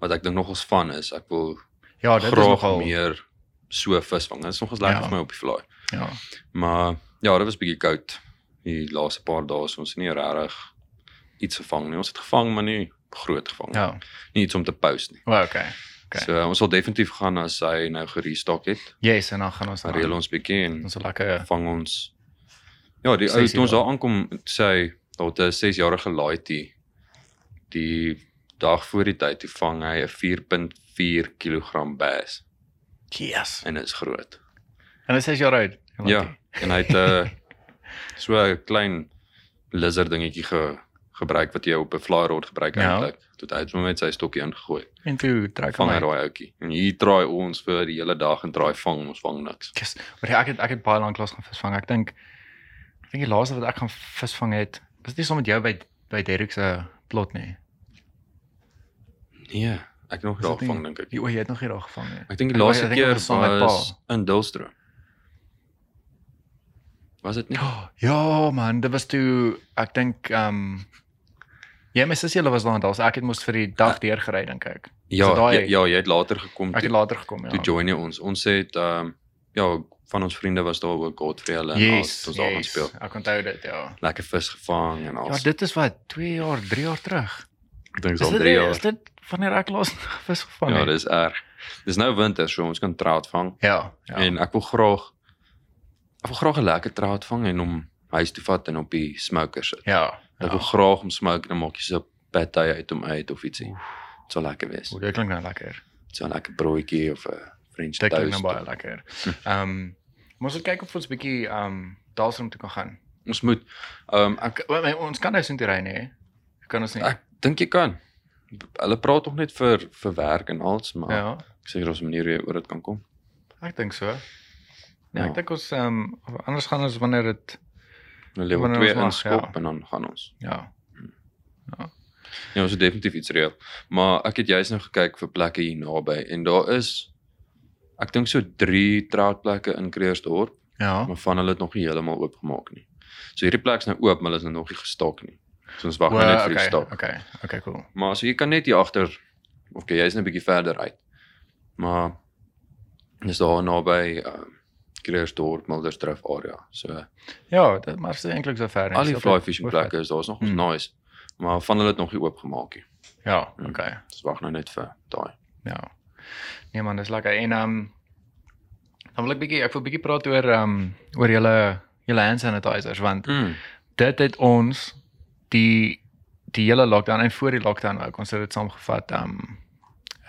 [SPEAKER 1] wat ek dink nogals van is. Ek wil
[SPEAKER 2] Ja, dit is
[SPEAKER 1] graag
[SPEAKER 2] nogal.
[SPEAKER 1] meer so vis vang. Dit is nogals lekker
[SPEAKER 2] Ja.
[SPEAKER 1] ja. vir my op die fly.
[SPEAKER 2] Ja.
[SPEAKER 1] Maar Ja, dit was bietjie koud. Die laaste paar dae is ons nie regtig iets gevang nie. Ons het gevang, maar nie groot gevang.
[SPEAKER 2] Ja.
[SPEAKER 1] Nie iets om te post nie.
[SPEAKER 2] O, oh, okay. Okay.
[SPEAKER 1] So ons sal definitief gaan as hy nou gerestock het.
[SPEAKER 2] Yes, en dan gaan ons
[SPEAKER 1] Dan reël ons bietjie en
[SPEAKER 2] ons 'n lekker
[SPEAKER 1] vang ons Ja, die ou
[SPEAKER 2] Ses
[SPEAKER 1] toe ons
[SPEAKER 2] jaar.
[SPEAKER 1] daar aankom sê hy dat 'n 6-jarige laaitie die dag voor die tyd toe vang hy 'n 4.4 kg bass
[SPEAKER 2] yes.
[SPEAKER 1] en dit is groot.
[SPEAKER 2] En dit sê jy oud.
[SPEAKER 1] Ja, en hy het
[SPEAKER 2] <laughs>
[SPEAKER 1] 'n so 'n klein lizard dingetjie ge, gebruik wat jy op 'n fly rod gebruik
[SPEAKER 2] Ja.
[SPEAKER 1] eintlik. Toe hy het hom met sy stokkie ingegooi.
[SPEAKER 2] En toe trek
[SPEAKER 1] Vang hy
[SPEAKER 2] hom.
[SPEAKER 1] daai ouetjie. En hier draai ons vir die hele dag en draai vang ons vang niks.
[SPEAKER 2] Yes. Maar ja, ek het ek het baie lank lank gaan visvang. Ek dink ek dink die laaste wat ek gaan visvang het, was dit nie saam met jou by by Derek se plot nie.
[SPEAKER 1] Nee, ek het nog
[SPEAKER 2] Is
[SPEAKER 1] daar
[SPEAKER 2] dit nie-
[SPEAKER 1] gevang dink ek.
[SPEAKER 2] Jy o, jy het nog hier daar gevang nie.
[SPEAKER 1] Ek dink die
[SPEAKER 2] Ek-
[SPEAKER 1] laaste
[SPEAKER 2] ek dink
[SPEAKER 1] keer
[SPEAKER 2] ek was saam met
[SPEAKER 1] was in Dullstroom. Was dit nie?
[SPEAKER 2] Ja, ja man, dit was toe ek dink ehm um, Ja, my sussie hulle was daar en daar, so ek het mos vir die
[SPEAKER 1] Ah.
[SPEAKER 2] dag deur gery dink ek.
[SPEAKER 1] Ja,
[SPEAKER 2] so daai-
[SPEAKER 1] ja, ja, jy het later gekom
[SPEAKER 2] Ek het
[SPEAKER 1] toe,
[SPEAKER 2] later gekom, ja.
[SPEAKER 1] toe join jy ons. Ons het ehm um, ja, van ons vriende was daar ook Godfrey hulle en al het
[SPEAKER 2] Yes,
[SPEAKER 1] ons daar gaan
[SPEAKER 2] yes,
[SPEAKER 1] speel.
[SPEAKER 2] Ek onthou dit, ja.
[SPEAKER 1] Lekker vis gevang en al.
[SPEAKER 2] Ja, dit is wat 2 jaar, 3 jaar terug.
[SPEAKER 1] Ek dink
[SPEAKER 2] Is
[SPEAKER 1] dis al
[SPEAKER 2] dit
[SPEAKER 1] 3
[SPEAKER 2] nie- Is
[SPEAKER 1] jaar.
[SPEAKER 2] dit wanneer ek laas <laughs> vis gevang
[SPEAKER 1] Ja,
[SPEAKER 2] het?
[SPEAKER 1] dis erg. Dis nou winter, so ons kan trout vang
[SPEAKER 2] Ja, ja.
[SPEAKER 1] ja. en ek wil graag ek wil graag 'n lekker trout vang en hom huis toe vat en op die smoker sit.
[SPEAKER 2] ja.
[SPEAKER 1] Ek wil
[SPEAKER 2] ja.
[SPEAKER 1] graag hom smoke en dan maak jy so 'n patty uit hom uit of ietsie.
[SPEAKER 2] Oef.
[SPEAKER 1] Dit sal lekker wees.
[SPEAKER 2] O, dit klink nou lekker.
[SPEAKER 1] so 'n lekker broodjie of 'n French
[SPEAKER 2] Dit klink nou
[SPEAKER 1] toast.
[SPEAKER 2] baie lekker. Ehm, um, ons moet kyk of ons bietjie ehm um, daarsrom toe kan gaan.
[SPEAKER 1] Ons moet ehm um, ek
[SPEAKER 2] Ek, o, my, ons kan nou so toe ry nê. Kan ons nie.
[SPEAKER 1] ek dink jy kan. Hulle praat nog net vir vir werk en alles, maar ja.
[SPEAKER 2] ja.
[SPEAKER 1] ek seker daar's 'n manier hoe jy oor dit kan kom.
[SPEAKER 2] Ek dink so. Nee,
[SPEAKER 1] Ja.
[SPEAKER 2] ja. ek dink ons ehm um, anders gaan ons wanneer dit
[SPEAKER 1] Nou lewe
[SPEAKER 2] Wanneer
[SPEAKER 1] twee
[SPEAKER 2] ons mag,
[SPEAKER 1] inskop ja.
[SPEAKER 2] ja.
[SPEAKER 1] en dan gaan ons.
[SPEAKER 2] ja.
[SPEAKER 1] Ja, ons het definitief iets reël. Maar ek het juis nou gekyk vir plekke hier naby en daar is ek dink so 3 troutplekke in Kreersdorp,
[SPEAKER 2] Ja.
[SPEAKER 1] maar van hulle het nog nie heeltemal oopgemaak nie. So hierdie plek's nou oop, maar hulle is nou nog nie gestok nie. So ons wag nou net vir die
[SPEAKER 2] okay,
[SPEAKER 1] stok.
[SPEAKER 2] okay. Okay, cool.
[SPEAKER 1] Maar so jy kan net hier agter OK, jy's net 'n bietjie verder uit. Maar dis daar naby uh Kreersdorp, Mildersdrif area. So
[SPEAKER 2] Ja, dit maar is eintlik so ver. nie.
[SPEAKER 1] al die
[SPEAKER 2] Dis
[SPEAKER 1] fly
[SPEAKER 2] ook-
[SPEAKER 1] fishing
[SPEAKER 2] ook
[SPEAKER 1] plekke is daar's nog ons
[SPEAKER 2] Mm.
[SPEAKER 1] nice. Maar van hulle het nog nie oopgemaak nie.
[SPEAKER 2] vet. Ja,
[SPEAKER 1] Mm.
[SPEAKER 2] okay.
[SPEAKER 1] Dis wag nou net vir daai.
[SPEAKER 2] Ja. Nee man, dis lekker. En ehm um, dan wil ek bietjie ek wil bietjie praat oor ehm um, oor julle julle hand sanitizers want
[SPEAKER 1] Mm.
[SPEAKER 2] dit het ons die die hele lockdown en voor die lockdown ook ons het dit saamgevat ehm um,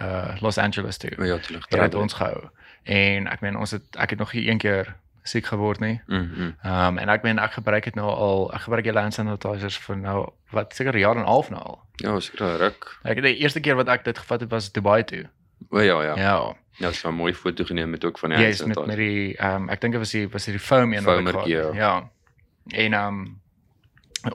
[SPEAKER 2] uh Los Angeles toe.
[SPEAKER 1] Ja, te lig.
[SPEAKER 2] Het dit ons gehou. En ek meen ons het ek het nog nie een keer siek geword nie.
[SPEAKER 1] Mm. mm.
[SPEAKER 2] Ehm um, en ek meen ek gebruik dit nou al ek gebruik julle hand sanitizers vir nou wat seker 'n jaar en 'n half nou al.
[SPEAKER 1] Ja, seker al ruk.
[SPEAKER 2] Ek die eerste keer wat ek dit gevat het was Dubai toe.
[SPEAKER 1] O ja, ja.
[SPEAKER 2] Ja.
[SPEAKER 1] Ja,
[SPEAKER 2] ja.
[SPEAKER 1] ja so 'n mooi foto geneem met ook van die
[SPEAKER 2] Ja, yes, met
[SPEAKER 1] daar.
[SPEAKER 2] met die ehm um, ek dink dit was die was dit die foam een wat ek gehad
[SPEAKER 1] Foamertjie,
[SPEAKER 2] het. Ja. En ehm um,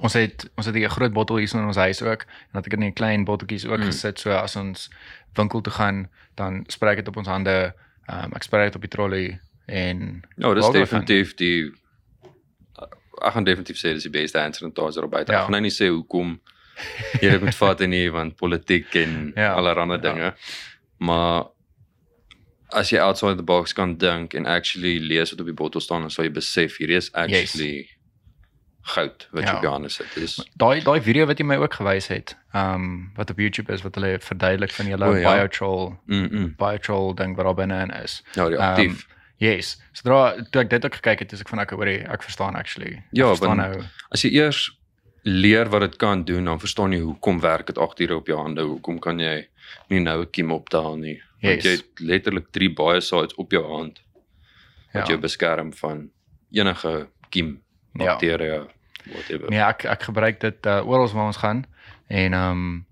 [SPEAKER 2] ons het ons het 'n groot bottel hier so in ons huis ook en dat ek dit in die klein botteltjies ook
[SPEAKER 1] Mm.
[SPEAKER 2] mm. gesit so as ons winkel toe gaan dan sprei ek dit op ons hande. Ehm um, ek sprei dit op die trolley en
[SPEAKER 1] Ja, dis
[SPEAKER 2] Waar wil jy
[SPEAKER 1] definitief die ek gaan definitief sê dis die beste answer en daar's daar buite.
[SPEAKER 2] Ja.
[SPEAKER 1] Ek gaan nou nie sê hoekom jy dit moet vat en nie want politiek en ja.
[SPEAKER 2] <laughs> Ja,
[SPEAKER 1] allerlei
[SPEAKER 2] ja.
[SPEAKER 1] dinge. Maar as jy outside the box kan dink en actually lees wat op die bottel staan, dan sal jy besef hierdie is actually yes. goud wat ja.
[SPEAKER 2] Ja.
[SPEAKER 1] jy gaan is. Dit is
[SPEAKER 2] daai daai video wat jy my ook gewys het. Ehm um, wat op YouTube is wat hulle verduidelik van julle
[SPEAKER 1] O,
[SPEAKER 2] oh,
[SPEAKER 1] ja.
[SPEAKER 2] ja. biotrol
[SPEAKER 1] mm -mm.
[SPEAKER 2] biotrol ding wat daar binne in is.
[SPEAKER 1] ja, die
[SPEAKER 2] Ehm,
[SPEAKER 1] aktief. Um,
[SPEAKER 2] Yes. Sodra toe ek dit ook gekyk het, is ek van ek oor ek verstaan actually.
[SPEAKER 1] Ja,
[SPEAKER 2] ek verstaan
[SPEAKER 1] want-
[SPEAKER 2] nou.
[SPEAKER 1] as jy eers leer wat dit kan doen, dan verstaan jy hoekom werk dit 8 ure op jou hande, hoekom kan jy nie nou 'n kiem optel nie. Want yes.
[SPEAKER 2] Yes.
[SPEAKER 1] jy het letterlik 3 baie sides op jou hand wat ja. jou beskerm van enige kiem,
[SPEAKER 2] Ja.
[SPEAKER 1] bakterieë, ja. whatever. Ja.
[SPEAKER 2] Nee, ek ek gebruik dit uh, oral waar ons gaan en ehm um,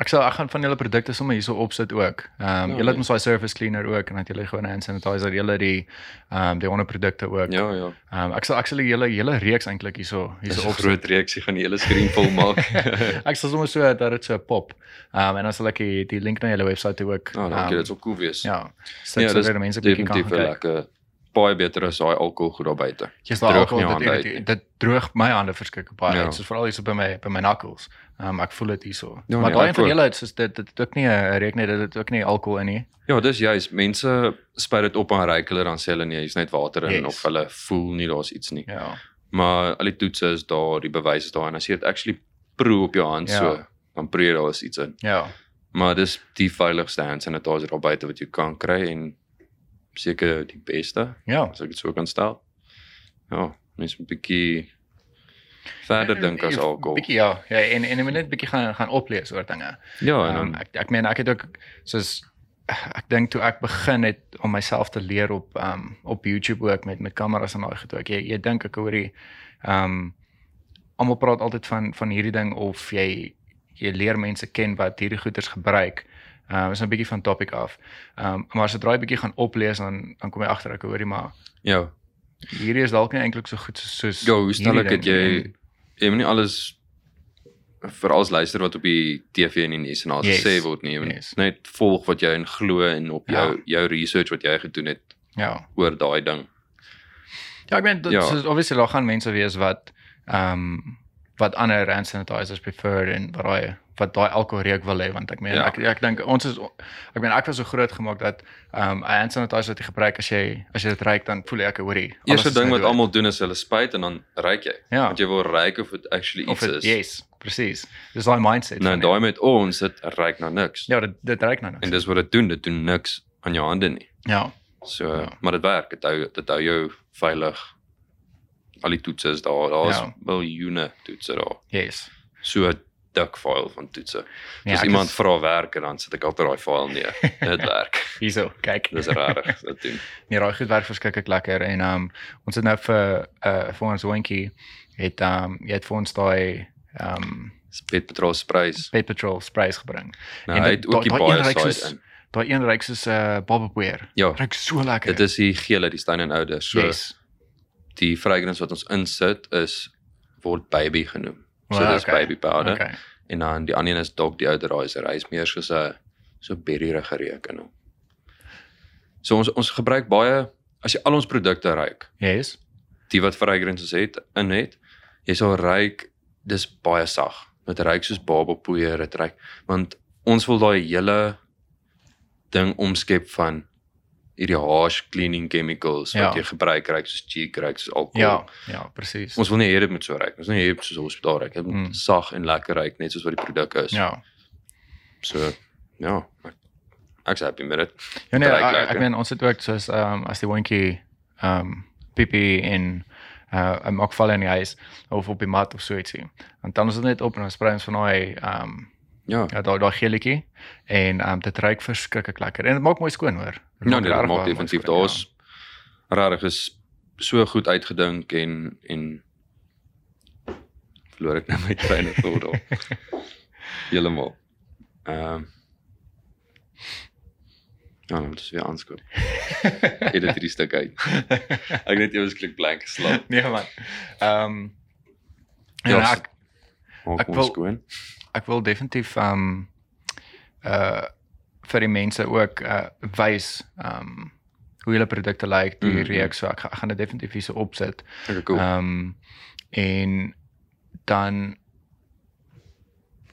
[SPEAKER 2] ek sal ek gaan van julle produkte sommer hierso opsit ook. Ehm um,
[SPEAKER 1] Ja,
[SPEAKER 2] julle
[SPEAKER 1] nee.
[SPEAKER 2] het mos daai surface cleaner ook en dan het julle gewoon 'n hand sanitizer, julle die ehm um, die ander produkte ook. Ehm
[SPEAKER 1] Ja ja.
[SPEAKER 2] um, ek sal ek sal julle julle reeks eintlik hierso
[SPEAKER 1] Dis
[SPEAKER 2] hierso
[SPEAKER 1] 'n
[SPEAKER 2] opsit.
[SPEAKER 1] groot reeks, jy gaan die hele skerm
[SPEAKER 2] <laughs>
[SPEAKER 1] vol maak.
[SPEAKER 2] Ek sal sommer so dat dit so pop. Ehm um, en dan sal ek die, die link na julle webwerf toe ook.
[SPEAKER 1] Nou, oh,
[SPEAKER 2] ehm,
[SPEAKER 1] dankie, dit sou cool wees.
[SPEAKER 2] Ja. Sit
[SPEAKER 1] Ja,
[SPEAKER 2] ja,
[SPEAKER 1] dis
[SPEAKER 2] sodat mense 'n bietjie kan
[SPEAKER 1] definitief
[SPEAKER 2] gaan
[SPEAKER 1] 'n
[SPEAKER 2] kyk.
[SPEAKER 1] lekker baie beter as daai alkohol goed daar buite.
[SPEAKER 2] Jy's
[SPEAKER 1] Droog
[SPEAKER 2] daai alkohol
[SPEAKER 1] jou
[SPEAKER 2] dit
[SPEAKER 1] hande uit.
[SPEAKER 2] irriteer- dit droog my hande verskrik baie
[SPEAKER 1] Ja.
[SPEAKER 2] uit. Soos veral hier so by my by my knuckles. Um, ek voel dit hierso.
[SPEAKER 1] Ja,
[SPEAKER 2] maar
[SPEAKER 1] nee,
[SPEAKER 2] daai
[SPEAKER 1] ek
[SPEAKER 2] van
[SPEAKER 1] ook.
[SPEAKER 2] julle is dit dit ook nie 'n reuk nie, dit het ook nie alkohol in nie.
[SPEAKER 1] Ja, dis juis mense spuit dit op aan rykeler dan sê hulle nee, hier's net water in
[SPEAKER 2] Yes.
[SPEAKER 1] yes. of hulle voel nie daar's iets nie.
[SPEAKER 2] Ja.
[SPEAKER 1] Maar al die toetse is daar, die bewys is daar en as jy dit actually proe op jou hand
[SPEAKER 2] Ja.
[SPEAKER 1] ja. so, dan proe jy daar is iets in.
[SPEAKER 2] Ja.
[SPEAKER 1] Maar dis die veiligste hand sanitizer daar buite wat jy kan kry en seker die beste,
[SPEAKER 2] Ja.
[SPEAKER 1] as ek dit so kan stel. Ja, mens moet 'n bietjie
[SPEAKER 2] Ja,
[SPEAKER 1] verder dink as alkohol.
[SPEAKER 2] Bietjie ja, ja en en 'n minuut bietjie gaan gaan oplees oor dinge.
[SPEAKER 1] Ja, en
[SPEAKER 2] Um,
[SPEAKER 1] dan
[SPEAKER 2] ek ek meen ek het ook soos ek dink toe ek begin het om myself te leer op um op YouTube ook met met kameras en daai goed ook. Jy jy dink ek hoor die um almal praat altyd van van hierdie ding of jy jy leer mense ken wat hierdie goeders gebruik. Ehm um, is nou 'n bietjie van topic af. Ehm um, maar as jy draai bietjie gaan oplees dan dan kom jy agter ek hoorie maar
[SPEAKER 1] ja,
[SPEAKER 2] hierdie is dalk nie eintlik so goed soos soos
[SPEAKER 1] Ja, hoe
[SPEAKER 2] hierdie
[SPEAKER 1] sneller
[SPEAKER 2] ding
[SPEAKER 1] het jy
[SPEAKER 2] nie.
[SPEAKER 1] jy moet nie alles vir alles luister wat op die TV en in die SNL yes,
[SPEAKER 2] Yes,
[SPEAKER 1] gesê word nie. Jy moet
[SPEAKER 2] yes.
[SPEAKER 1] yes. net volg wat jy in glo en op jou
[SPEAKER 2] Ja.
[SPEAKER 1] ja. jou research wat jy gedoen het
[SPEAKER 2] Ja.
[SPEAKER 1] oor daai ding.
[SPEAKER 2] Ja, ek meen dit
[SPEAKER 1] Ja.
[SPEAKER 2] ja. is obviously daar gaan mense wees wat ehm um, wat ander hand sanitizers prefer en wat daai wat daai alkoholreuk wil hê want ek meen ja.
[SPEAKER 1] Ja.
[SPEAKER 2] ek ek dink ons is ek meen ek was so groot gemaak dat ehm um, 'n hand sanitizer wat jy gebruik as jy as jy dit ruik dan voel jy ek hoor hier. alles
[SPEAKER 1] Eerste
[SPEAKER 2] is
[SPEAKER 1] ding
[SPEAKER 2] nou
[SPEAKER 1] wat
[SPEAKER 2] dood.
[SPEAKER 1] almal doen is hulle spuit en dan ruik jy.
[SPEAKER 2] ja,
[SPEAKER 1] Want jy wil ruik of dit actually
[SPEAKER 2] of
[SPEAKER 1] iets is.
[SPEAKER 2] dit yes, presies. Dis daai mindset.
[SPEAKER 1] Nou
[SPEAKER 2] van
[SPEAKER 1] daai met ons dit ruik na niks. Ja.
[SPEAKER 2] ja, dit dit ruik nou
[SPEAKER 1] En
[SPEAKER 2] niks.
[SPEAKER 1] dis wat dit doen, dit doen niks aan jou hande nie.
[SPEAKER 2] Ja.
[SPEAKER 1] So ja.
[SPEAKER 2] Ja.
[SPEAKER 1] maar dit werk, dit hou dit hou jou veilig. Al die toetse is daar, daar's
[SPEAKER 2] Ja.
[SPEAKER 1] ja. miljoene toetse daar.
[SPEAKER 2] Yes.
[SPEAKER 1] so 'n dik file van toetse.
[SPEAKER 2] Ja,
[SPEAKER 1] Ja, as
[SPEAKER 2] ek
[SPEAKER 1] iemand
[SPEAKER 2] is-
[SPEAKER 1] vra werk en dan sit ek altyd daai file
[SPEAKER 2] <laughs>
[SPEAKER 1] neer. Dit werk.
[SPEAKER 2] Hierso, kyk.
[SPEAKER 1] Dis regtig dit doen.
[SPEAKER 2] Nee, daai goed werk verskriklik lekker en ehm um, ons het nou vir uh, vir ons hondjie het ehm um, jy het vir ons daai ehm um,
[SPEAKER 1] Spit Patrol prys.
[SPEAKER 2] Pet Patrol sprays gebring.
[SPEAKER 1] Nou
[SPEAKER 2] En
[SPEAKER 1] hy
[SPEAKER 2] dit-
[SPEAKER 1] het ook die
[SPEAKER 2] daai- daai een
[SPEAKER 1] baie
[SPEAKER 2] reeks
[SPEAKER 1] side
[SPEAKER 2] is-
[SPEAKER 1] in.
[SPEAKER 2] Daai een ryk soos 'n uh, barbecue.
[SPEAKER 1] Ja,
[SPEAKER 2] Ryk so lekker.
[SPEAKER 1] dit is die gele, die Stein en Oude. So yes.
[SPEAKER 2] yes.
[SPEAKER 1] die fragrance wat ons insit is word baby genoem. So
[SPEAKER 2] Wow,
[SPEAKER 1] wow, dis
[SPEAKER 2] okay.
[SPEAKER 1] okay. baby powder. Okay.
[SPEAKER 2] Okay.
[SPEAKER 1] En dan die ander een is dalk die odorizer. Hy's meer soos 'n so berryrige reuk in hom. So ons ons gebruik baie as jy al ons produkte ruik,
[SPEAKER 2] Yes.
[SPEAKER 1] die wat fragrances het in het, jy sal ruik dis baie sag. Dit ruik soos babapoeier, dit ruik want ons wil daai hele ding omskep van hierdie harsh cleaning chemicals wat
[SPEAKER 2] Ja.
[SPEAKER 1] ja. jy gebruik ruik soos cheek ruik soos alkohol.
[SPEAKER 2] Ja, ja, presies.
[SPEAKER 1] Ons wil nie hê dit moet so ruik. Ons wil nie hê dit moet soos 'n hospitaal ruik. Dit moet
[SPEAKER 2] Mm.
[SPEAKER 1] mm. sag en lekker ruik net soos wat die produk is.
[SPEAKER 2] Ja.
[SPEAKER 1] So ja, ek- ek's happy met dit.
[SPEAKER 2] Ja nee,
[SPEAKER 1] Dit ruik
[SPEAKER 2] ek,
[SPEAKER 1] lekker.
[SPEAKER 2] ek meen ons het ook soos ehm um, as die hondjie ehm um, pipi en uh 'n makval in die huis of op die mat of so ietsie. En dan is dit net op en ons sprei ons van daai ehm um,
[SPEAKER 1] Ja.
[SPEAKER 2] Ja, daai daai geelletjie en ehm um, dit ruik verskriklik lekker en dit maak mooi skoon hoor.
[SPEAKER 1] Ja, nee,
[SPEAKER 2] regtig
[SPEAKER 1] dit maak
[SPEAKER 2] baie mooi
[SPEAKER 1] definitief
[SPEAKER 2] skoon, ja.
[SPEAKER 1] daar's regtig is so goed uitgedink en en verloor ek nou my trein of thought
[SPEAKER 2] <laughs>
[SPEAKER 1] daar. Heeltemal. Ehm Ja, nou, dis weer aanskoop. Edit hierdie stuk
[SPEAKER 2] <laughs>
[SPEAKER 1] uit. Ek net eers klik blank geslaap.
[SPEAKER 2] <laughs> Nee man. Ehm um, ja,
[SPEAKER 1] Ja,
[SPEAKER 2] ja
[SPEAKER 1] so-
[SPEAKER 2] ek Ek
[SPEAKER 1] Maak
[SPEAKER 2] wil-
[SPEAKER 1] ons skoon.
[SPEAKER 2] ek wil definitief ehm um, uh vir die mense ook uh wys ehm um, hoe julle produkte lyk, die mm
[SPEAKER 1] Mhm.
[SPEAKER 2] -hmm. reuk, so ek, ga- ek gaan dit definitief hierso opsit.
[SPEAKER 1] Okay,
[SPEAKER 2] Ehm
[SPEAKER 1] cool.
[SPEAKER 2] um, en dan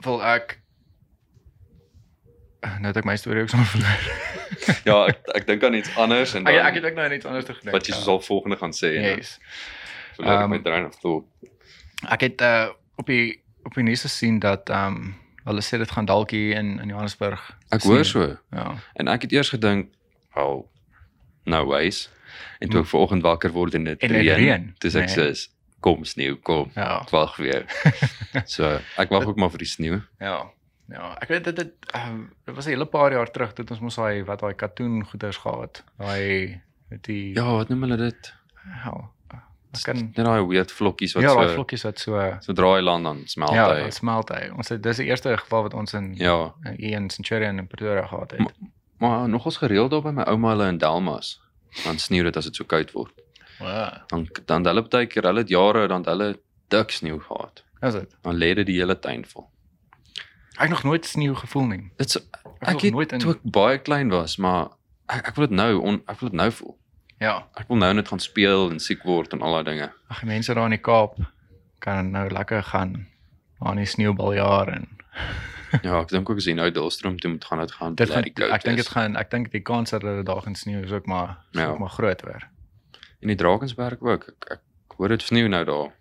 [SPEAKER 2] wil ek nou het ek my storie ook sommer verloor. <laughs>
[SPEAKER 1] Ja, ek ek dink aan iets anders en
[SPEAKER 2] Ek
[SPEAKER 1] dan
[SPEAKER 2] ek het ook nou net anders te gedink.
[SPEAKER 1] wat jy soos al volgende gaan sê en dan
[SPEAKER 2] Yes.
[SPEAKER 1] verloor ek my
[SPEAKER 2] Ehm,
[SPEAKER 1] trein of thought.
[SPEAKER 2] Ek het uh op die op die nuus gesien dat ehm um, hulle sê dit gaan dalk hier in in Johannesburg.
[SPEAKER 1] Ek
[SPEAKER 2] sien.
[SPEAKER 1] hoor so.
[SPEAKER 2] Ja.
[SPEAKER 1] En ek het eers gedink, "Wel, no ways." En toe ek vanoggend wakker word en dit
[SPEAKER 2] Hmm. En dit reën,
[SPEAKER 1] reën, dis ek
[SPEAKER 2] nee.
[SPEAKER 1] nee. sê, "Kom sneeu, kom."
[SPEAKER 2] Ja.
[SPEAKER 1] Ek wag
[SPEAKER 2] <laughs>
[SPEAKER 1] weer. so, ek wag ook maar vir die sneeu.
[SPEAKER 2] Ja. Ja, ek weet dit dit um, dit was 'n hele paar jaar terug toe het ons mos daai wat daai katoen goeders gehad. Daai met die
[SPEAKER 1] Ja, wat noem hulle dit?
[SPEAKER 2] hel. Ek kan
[SPEAKER 1] Net daai weird vlokkies wat
[SPEAKER 2] Ja, daai Ja,
[SPEAKER 1] so
[SPEAKER 2] vlokkies wat so ja,
[SPEAKER 1] sodra hy land dan smelt hy.
[SPEAKER 2] dan smelt hy. Ons het dis die eerste geval wat ons in
[SPEAKER 1] Ja,
[SPEAKER 2] hier in Centurion in Pretoria gehad het.
[SPEAKER 1] maar nogals gereeld daar by my ouma hulle in Delmas. Dan sneeu dit as dit so koud word.
[SPEAKER 2] Wow.
[SPEAKER 1] Dan dan het hulle baie keer, hulle het jare dan het hulle dik sneeu gehad.
[SPEAKER 2] Is dit?
[SPEAKER 1] Dan lê dit die hele tuin vol.
[SPEAKER 2] Ek het nog nooit sneeu gevoel nie.
[SPEAKER 1] Dit's
[SPEAKER 2] Ek, ek
[SPEAKER 1] ek
[SPEAKER 2] het
[SPEAKER 1] het
[SPEAKER 2] nooit in
[SPEAKER 1] toe ek baie klein was, maar ek, ek wil dit nou on, ek wil dit nou voel.
[SPEAKER 2] Ja.
[SPEAKER 1] Ek wil nou net gaan speel en siek word en al daai
[SPEAKER 2] <laughs>
[SPEAKER 1] dinge.
[SPEAKER 2] Ag, die mense daar in die Kaap kan nou lekker gaan aan die sneeubaljaar en
[SPEAKER 1] Ja, ek dink ook as jy nou Dullstroom toe moet gaan, dit gaan
[SPEAKER 2] dit gaan
[SPEAKER 1] bloody koud
[SPEAKER 2] ek dink dit
[SPEAKER 1] wees.
[SPEAKER 2] gaan ek dink die kans dat hulle daar gaan sneeu is ook maar is
[SPEAKER 1] Ja.
[SPEAKER 2] ook maar groot weer.
[SPEAKER 1] en die Drakensberg ook. Ek, ek hoor dit sneeu nou daar.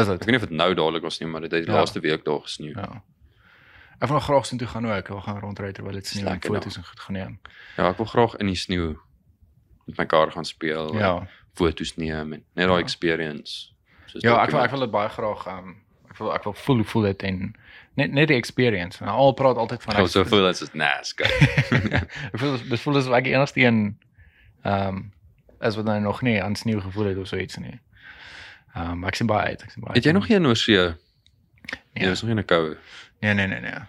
[SPEAKER 2] Is
[SPEAKER 1] Ek
[SPEAKER 2] dit?
[SPEAKER 1] weet nie of dit nou dadelik was nie, maar dit het die
[SPEAKER 2] Ja.
[SPEAKER 1] ja. laaste week daar gesneeu. Ja.
[SPEAKER 2] Ja. Ek wil nog graag soontoe gaan ook. Ek wil gaan rondry terwyl dit sneeu en
[SPEAKER 1] lekker daar.
[SPEAKER 2] foto's en goed geneem.
[SPEAKER 1] ja, ek wil graag in die sneeu met my kar gaan speel, ja.
[SPEAKER 2] Ja.
[SPEAKER 1] foto's neem en net daai
[SPEAKER 2] Ja.
[SPEAKER 1] ja. experience. Soos
[SPEAKER 2] Ja, ek wil
[SPEAKER 1] document.
[SPEAKER 2] ek wil dit baie graag um ek wil ek wil voel hoe voel dit en net net die experience. Nou al praat altyd van
[SPEAKER 1] Ek was so voel dit is nasty.
[SPEAKER 2] ek voel dis- dit voel asof ek die enigste een ehm um, as wat nou nog nie aan sneeu gevoel het of so iets nie. Ehm um, maar ek sien baie uit, ek sien baie.
[SPEAKER 1] <laughs> Het jy nog geen oorsee?
[SPEAKER 2] Ja.
[SPEAKER 1] Jy is nog nie in 'n koue.
[SPEAKER 2] Nee nee nee nee.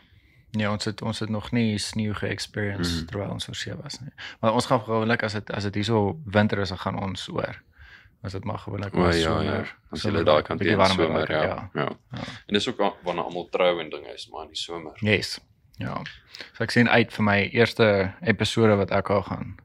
[SPEAKER 2] Nee, ons het ons het nog nie sneeu ge-experience mm.
[SPEAKER 1] Mhm.
[SPEAKER 2] terwyl ons oor see was nie. Maar ons gaan gewoonlik as dit as dit hierso winter is, dan gaan ons oor. As dit maar gewoonlik
[SPEAKER 1] O
[SPEAKER 2] was
[SPEAKER 1] ja, ja.
[SPEAKER 2] somer,
[SPEAKER 1] Ons
[SPEAKER 2] somer,
[SPEAKER 1] het daai kant
[SPEAKER 2] bietjie
[SPEAKER 1] teen
[SPEAKER 2] warmer
[SPEAKER 1] somer,
[SPEAKER 2] raak,
[SPEAKER 1] ja. Ja.
[SPEAKER 2] Ja.
[SPEAKER 1] En dis ook wa- wanneer almal trou en dinge is, maar in die somer.
[SPEAKER 2] Yes. Ja. So ek sien uit vir my eerste episode wat ek al gaan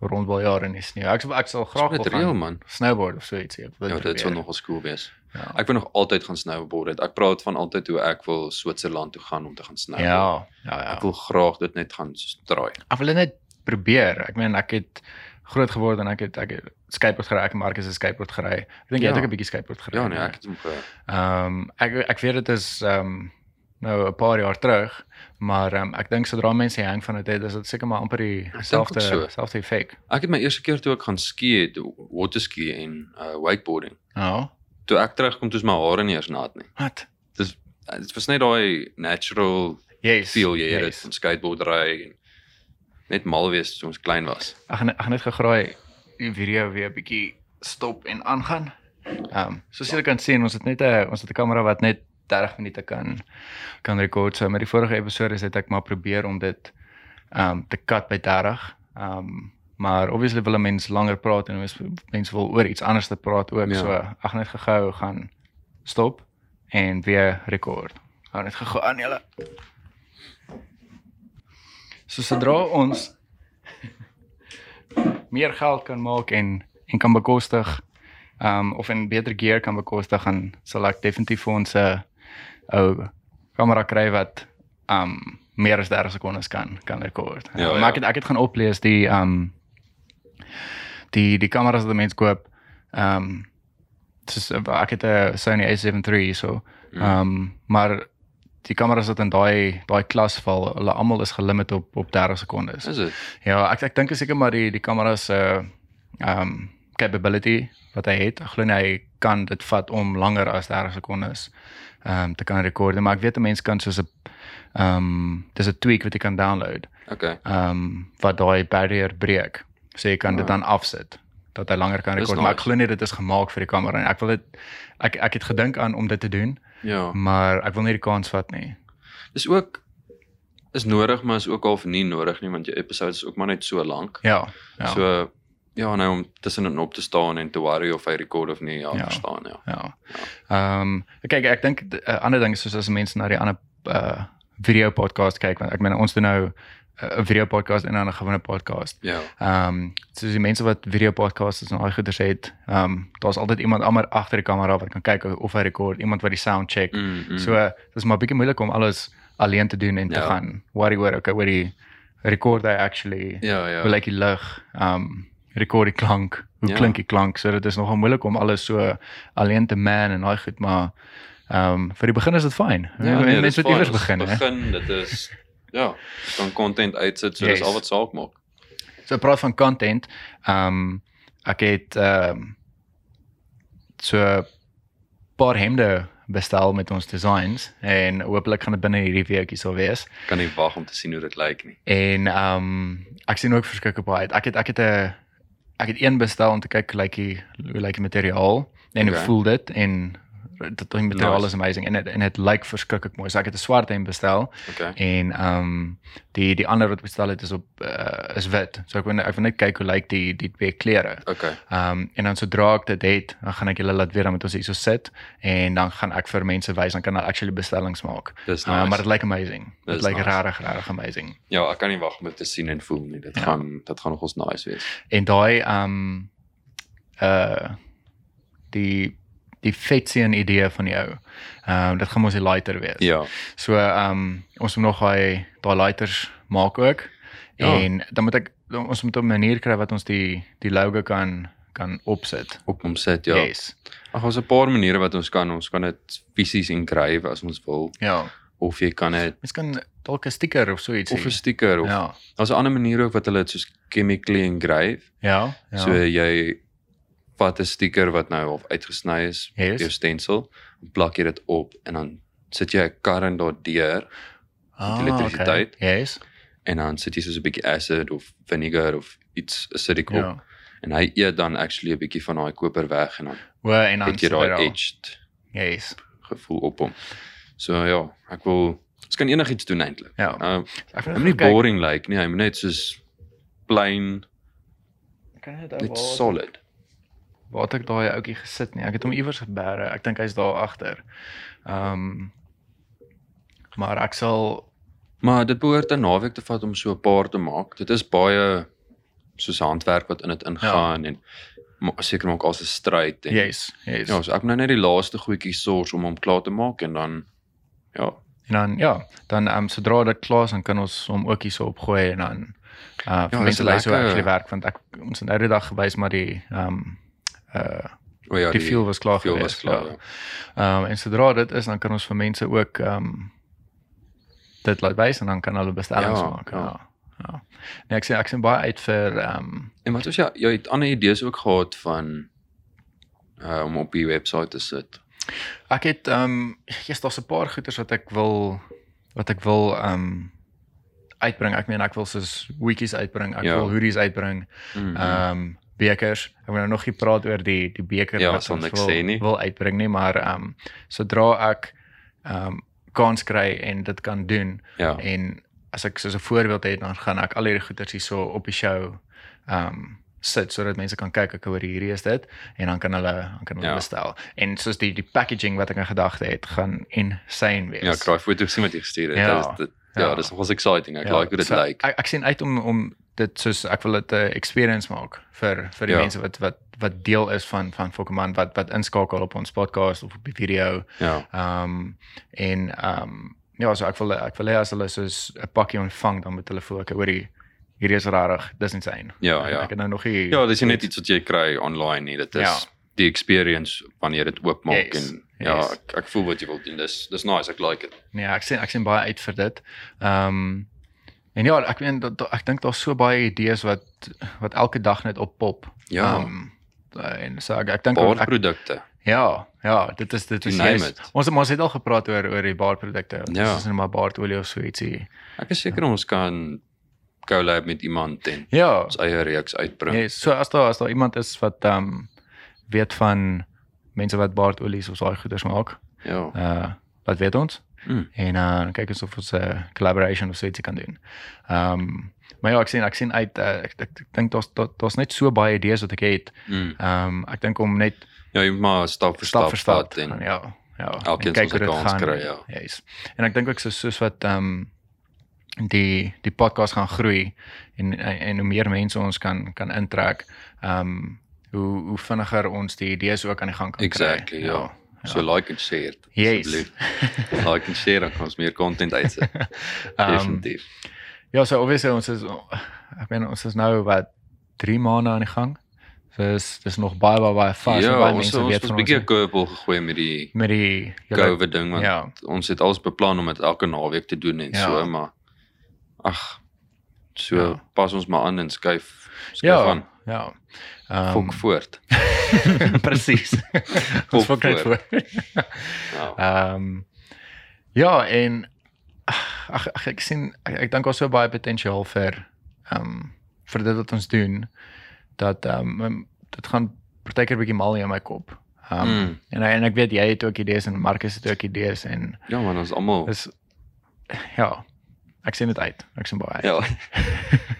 [SPEAKER 2] rondbaljaar in die sneeu. Ek sal- ek sal graag
[SPEAKER 1] Dit
[SPEAKER 2] wil
[SPEAKER 1] is
[SPEAKER 2] gaan
[SPEAKER 1] reël man.
[SPEAKER 2] snowboard of so ietsie. Ek wil
[SPEAKER 1] Ja, dit sou
[SPEAKER 2] probeer.
[SPEAKER 1] nogal skool wees.
[SPEAKER 2] Ja.
[SPEAKER 1] Ek wil nog altyd gaan snowboard het. Ek praat van altyd hoe ek wil Switserland toe gaan om te gaan snowboard.
[SPEAKER 2] Ja, ja, ja.
[SPEAKER 1] Nou, Ek wil graag dit net gaan s- draai.
[SPEAKER 2] Ek wil dit net probeer. Ek meen ek het groot geword en ek het ek het skateboard gery, ek en Marcus het skateboard gery. Ek dink jy het
[SPEAKER 1] Ja.
[SPEAKER 2] ook 'n bietjie skateboard gery.
[SPEAKER 1] Ja nee,
[SPEAKER 2] né?
[SPEAKER 1] ek het hom ge
[SPEAKER 2] Ehm um, ek ek weet dit is ehm um, nou 'n paar jaar terug, maar ehm um, ek dink sodra mense die hang van dit het, is dit seker maar amper dieselfde
[SPEAKER 1] ook so.
[SPEAKER 2] selfde effek.
[SPEAKER 1] Ek het my eerste keer toe ek gaan ski het, waterski en uh, wakeboarding.
[SPEAKER 2] Ja.
[SPEAKER 1] Toe ek terugkom, toe is my hare nie eens nat nie.
[SPEAKER 2] Wat?
[SPEAKER 1] Uh, Dit was net daai natural
[SPEAKER 2] Yes.
[SPEAKER 1] feel jy het dit
[SPEAKER 2] yes.
[SPEAKER 1] van skateboardery en net mal wees toe ons klein was.
[SPEAKER 2] Ek gaan ek gaan net gegraai die video weer 'n bietjie stop en aangaan. Ehm um, soos julle kan sien, ons het net 'n ons het 'n kamera wat net 30 minute kan kan rekord. So met die vorige episode het ek maar probeer om dit ehm um, te cut by 30. Ehm um, maar obviously wil 'n mens langer praat en mens- mense wil oor iets anders te praat ook. Ja.
[SPEAKER 1] Ja.
[SPEAKER 2] So ek gaan net gou gaan stop en weer rekord. Hou net gou aan julle. So sodra ons meer geld kan maak en en kan bekostig um of 'n beter gear kan bekostig gaan sal ek definitief vir ons 'n ou kamera kry wat um meer as 30 sekondes kan kan rekord.
[SPEAKER 1] Ja,
[SPEAKER 2] um,
[SPEAKER 1] ja.
[SPEAKER 2] Ek het ek het gaan oplees die um die die kameras wat mense koop um soos ek het 'n Sony A7 III hierso.
[SPEAKER 1] Mm.
[SPEAKER 2] Um maar die kameras wat in daai daai klas val, hulle almal is gelimiteer op op 30 sekondes.
[SPEAKER 1] Is dit?
[SPEAKER 2] Ja, ek ek dink is seker maar die die kamera se uh, um capability wat hy het. Ek glo nie hy kan dit vat om langer as 30 sekondes um te kan rekord, nie, maar ek weet 'n mens kan soos 'n um dis 'n tweak wat jy kan download
[SPEAKER 1] Okay.
[SPEAKER 2] um wat daai barrier breek. So jy kan dit
[SPEAKER 1] Ah.
[SPEAKER 2] dan afsit dat hy langer kan
[SPEAKER 1] Dis
[SPEAKER 2] rekord, maar ek
[SPEAKER 1] nice.
[SPEAKER 2] glo nie dit is gemaak vir die kamera nie. Ek wil dit ek ek het gedink aan om dit te doen,
[SPEAKER 1] Ja.
[SPEAKER 2] maar ek wil nie die kans vat nie.
[SPEAKER 1] Dis ook is nodig, maar is ook half nie nodig nie want jou episode is ook maar net so lank.
[SPEAKER 2] Ja. Ja.
[SPEAKER 1] Ja. So ja, nou om tussenin op te staan en te worry of hy rekord of nie, ja,
[SPEAKER 2] Ja.
[SPEAKER 1] ja. verstaan ja.
[SPEAKER 2] Ja. Ehm um, kyk ek dink 'n uh, ander ding is soos as mense na die ander uh video podcast kyk want ek meen ons doen nou 'n uh, video podcast en dan 'n gewone podcast.
[SPEAKER 1] Ja.
[SPEAKER 2] Ehm um, soos die mense wat video podcasts en daai goeders het, ehm um, daar's altyd iemand almal agter die kamera wat kan kyk of hy rekord, iemand wat die sound check. Mm.
[SPEAKER 1] Mm, mm.
[SPEAKER 2] So uh, dis maar bietjie moeilik om alles alleen te doen en ja. te
[SPEAKER 1] Ja.
[SPEAKER 2] gaan worry oor okay oor die record hy actually
[SPEAKER 1] ja, ja.
[SPEAKER 2] hoe lyk die lig? Um rekord die klank. Hoe ja.
[SPEAKER 1] Ja.
[SPEAKER 2] klink die klank? So dit is nogal moeilik om alles so alleen te man en daai goed, maar um vir die begin is dit fyn. Ja,
[SPEAKER 1] dis
[SPEAKER 2] nee, mense moet
[SPEAKER 1] fine,
[SPEAKER 2] iewers
[SPEAKER 1] dis
[SPEAKER 2] begin, hè.
[SPEAKER 1] Begin, dit is ja, dan content uitsit, so yes.
[SPEAKER 2] Yes.
[SPEAKER 1] dis al wat saak maak.
[SPEAKER 2] So praat van content. Um ek het um so 'n paar hemde bestel met ons designs en hopelik gaan dit binne hierdie week hier sal wees.
[SPEAKER 1] Kan nie wag om te sien hoe dit lyk nie.
[SPEAKER 2] En ehm um, ek sien ook verskriklik baie uit. Ek het ek het 'n ek het een bestel om te kyk hoe lyk die hoe lyk die materiaal en okay. hoe
[SPEAKER 1] Okay.
[SPEAKER 2] voel dit en dit die materiaal
[SPEAKER 1] Nice.
[SPEAKER 2] nice. is amazing en dit en dit lyk verskriklik mooi. So ek het 'n swart hemp bestel
[SPEAKER 1] Okay.
[SPEAKER 2] en ehm um, die die ander wat bestel het is op uh, is wit. So ek wil net- ek wil net kyk hoe lyk die die twee kleure.
[SPEAKER 1] Okay.
[SPEAKER 2] Ehm um, en dan sodra ek dit het, dan gaan ek julle laat weet dan moet ons hierso sit en dan gaan ek vir mense wys dan kan hulle actually bestellings maak.
[SPEAKER 1] Dis
[SPEAKER 2] Uh,
[SPEAKER 1] nice.
[SPEAKER 2] maar dit lyk amazing. Dit
[SPEAKER 1] Dis
[SPEAKER 2] lyk nice.
[SPEAKER 1] nice.
[SPEAKER 2] regtig regtig amazing.
[SPEAKER 1] Ja, ek kan nie wag om dit te sien en voel nie. Dit
[SPEAKER 2] Ja.
[SPEAKER 1] ja. gaan dit gaan nogals nice wees.
[SPEAKER 2] En daai ehm um, uh die die vetseën idee van die ou. Ehm dit gaan mos die lighter wees.
[SPEAKER 1] Ja.
[SPEAKER 2] So ehm um, ons moet nog daai daai lighters maak ook.
[SPEAKER 1] Ja.
[SPEAKER 2] Ja. En dan moet ek dan- ons moet op 'n manier kry wat ons die die logo kan kan opsit.
[SPEAKER 1] Op hom sit ja. Yes.
[SPEAKER 2] Yes.
[SPEAKER 1] Ag ons 'n paar maniere wat ons kan ons kan dit fisies engrave as ons wil
[SPEAKER 2] Ja.
[SPEAKER 1] of jy kan dit
[SPEAKER 2] Mens kan dalk 'n sticker of so iets
[SPEAKER 1] of 'n
[SPEAKER 2] hê.
[SPEAKER 1] sticker of
[SPEAKER 2] Ja.
[SPEAKER 1] daar's 'n ander manier ook wat hulle dit soos chemically engrave.
[SPEAKER 2] Ja. Ja.
[SPEAKER 1] Ja. So jy vat 'n sticker wat nou half uitgesny is,
[SPEAKER 2] Yes.
[SPEAKER 1] jou stencil, plak jy dit op en dan sit jy 'n karring daardeur
[SPEAKER 2] Ah,
[SPEAKER 1] elektrisiteit.
[SPEAKER 2] Okay. Yes.
[SPEAKER 1] en dan sit jy soos 'n bietjie acid of vinegar of iets acidic op ja.
[SPEAKER 2] Ja.
[SPEAKER 1] en hy eet dan actually 'n bietjie van daai koper weg en dan
[SPEAKER 2] Waar en dan
[SPEAKER 1] het jy
[SPEAKER 2] sit hy
[SPEAKER 1] daai
[SPEAKER 2] daar.
[SPEAKER 1] aged
[SPEAKER 2] Yes.
[SPEAKER 1] gevoel op hom. So ja, ek wil ons kan enigiets doen eintlik.
[SPEAKER 2] Ja.
[SPEAKER 1] Nou,
[SPEAKER 2] Ek
[SPEAKER 1] hy moet nie
[SPEAKER 2] kyk.
[SPEAKER 1] boring lyk like, nie, hy moet net soos plain,
[SPEAKER 2] Kan dit
[SPEAKER 1] net solid.
[SPEAKER 2] Waar het ek daai ouetjie gesit nie? Ek het hom iewers geberre. Ek dink hy's daar agter. Ehm um, maar ek sal
[SPEAKER 1] Maar dit behoort 'n naweek te vat om so 'n paar te maak. Dit is baie soos handwerk wat in dit ingaan ja. en ma- seker maak as 'n stryd en
[SPEAKER 2] yes, yes.
[SPEAKER 1] ja, so ek moet nou net die laaste goedjies sors om hom klaar te maak en dan ja,
[SPEAKER 2] En dan ja, dan ehm um, sodra dit klaar is, dan kan ons hom ook hierso opgooi en dan uh ja,
[SPEAKER 1] dis
[SPEAKER 2] mense wys hoe
[SPEAKER 1] lekker.
[SPEAKER 2] actually werk want ek ons het nou die dag gewys maar die ehm um, uh
[SPEAKER 1] o ja,
[SPEAKER 2] die fuel was klaar
[SPEAKER 1] fuel was
[SPEAKER 2] gewees.
[SPEAKER 1] klaar. Ja.
[SPEAKER 2] ja. Ehm um, en sodra dit is, dan kan ons vir mense ook ehm um, dit laat wys en dan kan hulle bestellings
[SPEAKER 1] Ja,
[SPEAKER 2] ja, maak.
[SPEAKER 1] ja.
[SPEAKER 2] Ja. Ja. Nee, ek sien ek sien baie uit vir ehm um,
[SPEAKER 1] En wat was ja, jy het ander idees ook gehad van uh, om op die webwerf te sit.
[SPEAKER 2] Ek het ehm um, jy's daar's 'n paar goeders wat ek wil wat ek wil ehm um, uitbring. Ek meen ek wil soos hoedjies uitbring, ek
[SPEAKER 1] Ja.
[SPEAKER 2] ja. wil hoodies uitbring.
[SPEAKER 1] Mm,
[SPEAKER 2] Ehm um, bekers. Ek wil nou nog nie praat oor die die beker
[SPEAKER 1] Ja,
[SPEAKER 2] wat
[SPEAKER 1] sal
[SPEAKER 2] ons
[SPEAKER 1] niks
[SPEAKER 2] wil,
[SPEAKER 1] sê nie.
[SPEAKER 2] wil uitbring nie, maar ehm um, sodra ek ehm um, kans kry en dit kan doen
[SPEAKER 1] ja.
[SPEAKER 2] en as ek soos 'n voorbeeld het dan gaan ek al hierdie goeders hierso op die show ehm um, sit sodat mense kan kyk ek hoor hierdie is dit en dan kan hulle dan kan hulle
[SPEAKER 1] Ja.
[SPEAKER 2] ja. bestel. En soos die die packaging wat ek in gedagte het gaan insane wees.
[SPEAKER 1] Ja, ek raai foto's sien wat jy gestuur het.
[SPEAKER 2] Ja,
[SPEAKER 1] Ja, dit, ja, ja,
[SPEAKER 2] ja.
[SPEAKER 1] dis nogals exciting. Ek ja, like hoe dit
[SPEAKER 2] so
[SPEAKER 1] so, lyk.
[SPEAKER 2] Ek, ek sien uit om om dit soos ek wil dit 'n uh, experience maak vir vir die
[SPEAKER 1] Ja.
[SPEAKER 2] ja. mense wat wat wat deel is van van Fokoman wat wat inskakel op ons podcast of op die video.
[SPEAKER 1] Ja.
[SPEAKER 2] Ehm um, en ehm um, ja, so ek wil ek wil hê as hulle soos 'n pakkie ontvang dan moet hulle voel ek hoor hier hierdie is rarig, dis insane.
[SPEAKER 1] Ja,
[SPEAKER 2] Ek-
[SPEAKER 1] ja.
[SPEAKER 2] Ek het nou nog nie
[SPEAKER 1] Ja, dis nie net iets wat jy kry online nie. Dit is ja.
[SPEAKER 2] Ja.
[SPEAKER 1] die experience wanneer dit oopmaak yes,
[SPEAKER 2] Yes,
[SPEAKER 1] en ja,
[SPEAKER 2] yes.
[SPEAKER 1] ek, ek voel wat jy wil doen. Dis dis nice. Ek like dit.
[SPEAKER 2] nee, ek sien ek sien baie uit vir dit. Ehm um, en ja, ek meen dat- dat- ek dink daar's so baie idees wat wat elke dag net oppop.
[SPEAKER 1] Ja.
[SPEAKER 2] Um, en so ek, ek dink ook- ek,
[SPEAKER 1] Baarprodukte.
[SPEAKER 2] ja, ja, dit is dit
[SPEAKER 1] You
[SPEAKER 2] is
[SPEAKER 1] name
[SPEAKER 2] juist-
[SPEAKER 1] it.
[SPEAKER 2] Ons ons het al gepraat oor oor die baardprodukte.
[SPEAKER 1] Ja.
[SPEAKER 2] Soos net maar baardolie of so ietsie.
[SPEAKER 1] Ek is seker ons kan collab met iemand en
[SPEAKER 2] Ja.
[SPEAKER 1] ons eie reeks uitbring.
[SPEAKER 2] Ja, yes, so as daar as daar iemand is wat ehm um, weet van mense wat baardolies of so daai goeders maak,
[SPEAKER 1] Ja.
[SPEAKER 2] uh laat weet ons.
[SPEAKER 1] Mm.
[SPEAKER 2] En uh dan kyk ons of ons 'n uh, collaboration of so ietsie kan doen. Ehm um, maar ja, ek sien ek sien uit uh, ek, ek, ek dink daar's daar- daar's net so baie idees wat ek het.
[SPEAKER 1] Mm.
[SPEAKER 2] Ehm um, ek dink om net
[SPEAKER 1] Ja, jy moet maar stap vir
[SPEAKER 2] stap
[SPEAKER 1] stap,
[SPEAKER 2] vir stap
[SPEAKER 1] vat en
[SPEAKER 2] gaan, ja, ja.
[SPEAKER 1] elkeen
[SPEAKER 2] en kyk
[SPEAKER 1] sal sy
[SPEAKER 2] hoe dit
[SPEAKER 1] kans
[SPEAKER 2] gaan.
[SPEAKER 1] kry, ja.
[SPEAKER 2] Yes. En ek dink ook so soos wat ehm um, die die podcast gaan groei en en en hoe meer mense ons kan kan intrek, ehm um, hoe hoe vinniger ons die idees ook aan die gang kan
[SPEAKER 1] Exactly,
[SPEAKER 2] kry.
[SPEAKER 1] ja. so like en share.
[SPEAKER 2] Yes.
[SPEAKER 1] asseblief. like en share dan kan ons meer content uitsit.
[SPEAKER 2] <laughs> Um,
[SPEAKER 1] Definitief.
[SPEAKER 2] ja, so obviously ons is ek meen ons is nou wat 3 maande aan die gang. So is dis nog baie baie baie vas
[SPEAKER 1] ja,
[SPEAKER 2] en baie
[SPEAKER 1] ons
[SPEAKER 2] mense
[SPEAKER 1] ons
[SPEAKER 2] weet
[SPEAKER 1] het 'n
[SPEAKER 2] van
[SPEAKER 1] bietjie 'n
[SPEAKER 2] ons.
[SPEAKER 1] kurbel gegooi met die
[SPEAKER 2] Met die julle-
[SPEAKER 1] COVID ding want
[SPEAKER 2] Ja.
[SPEAKER 1] ons het alles beplan om dit elke naweek te doen en ja.
[SPEAKER 2] Ja.
[SPEAKER 1] so, maar ag so ja.
[SPEAKER 2] Ja.
[SPEAKER 1] pas ons maar aan en skuif skuif ja.
[SPEAKER 2] Ja.
[SPEAKER 1] aan.
[SPEAKER 2] Ja.
[SPEAKER 1] Fok
[SPEAKER 2] Ehm
[SPEAKER 1] um, voort.
[SPEAKER 2] presies. Ons fok net voor.
[SPEAKER 1] Ja.
[SPEAKER 2] Ehm ja, en ag ag, ek sien ek, ek dink daar's so baie potensiaal vir ehm vir dit wat ons doen dat ehm um, dit gaan partykeer 'n bietjie mal in my kop. Ehm um,
[SPEAKER 1] Mm.
[SPEAKER 2] mm. en en ek weet jy het ook idees en Marcus het ook idees en
[SPEAKER 1] ja, man, ons almal.
[SPEAKER 2] dis ja, ek sien dit uit. Ek sien baie uit. <laughs>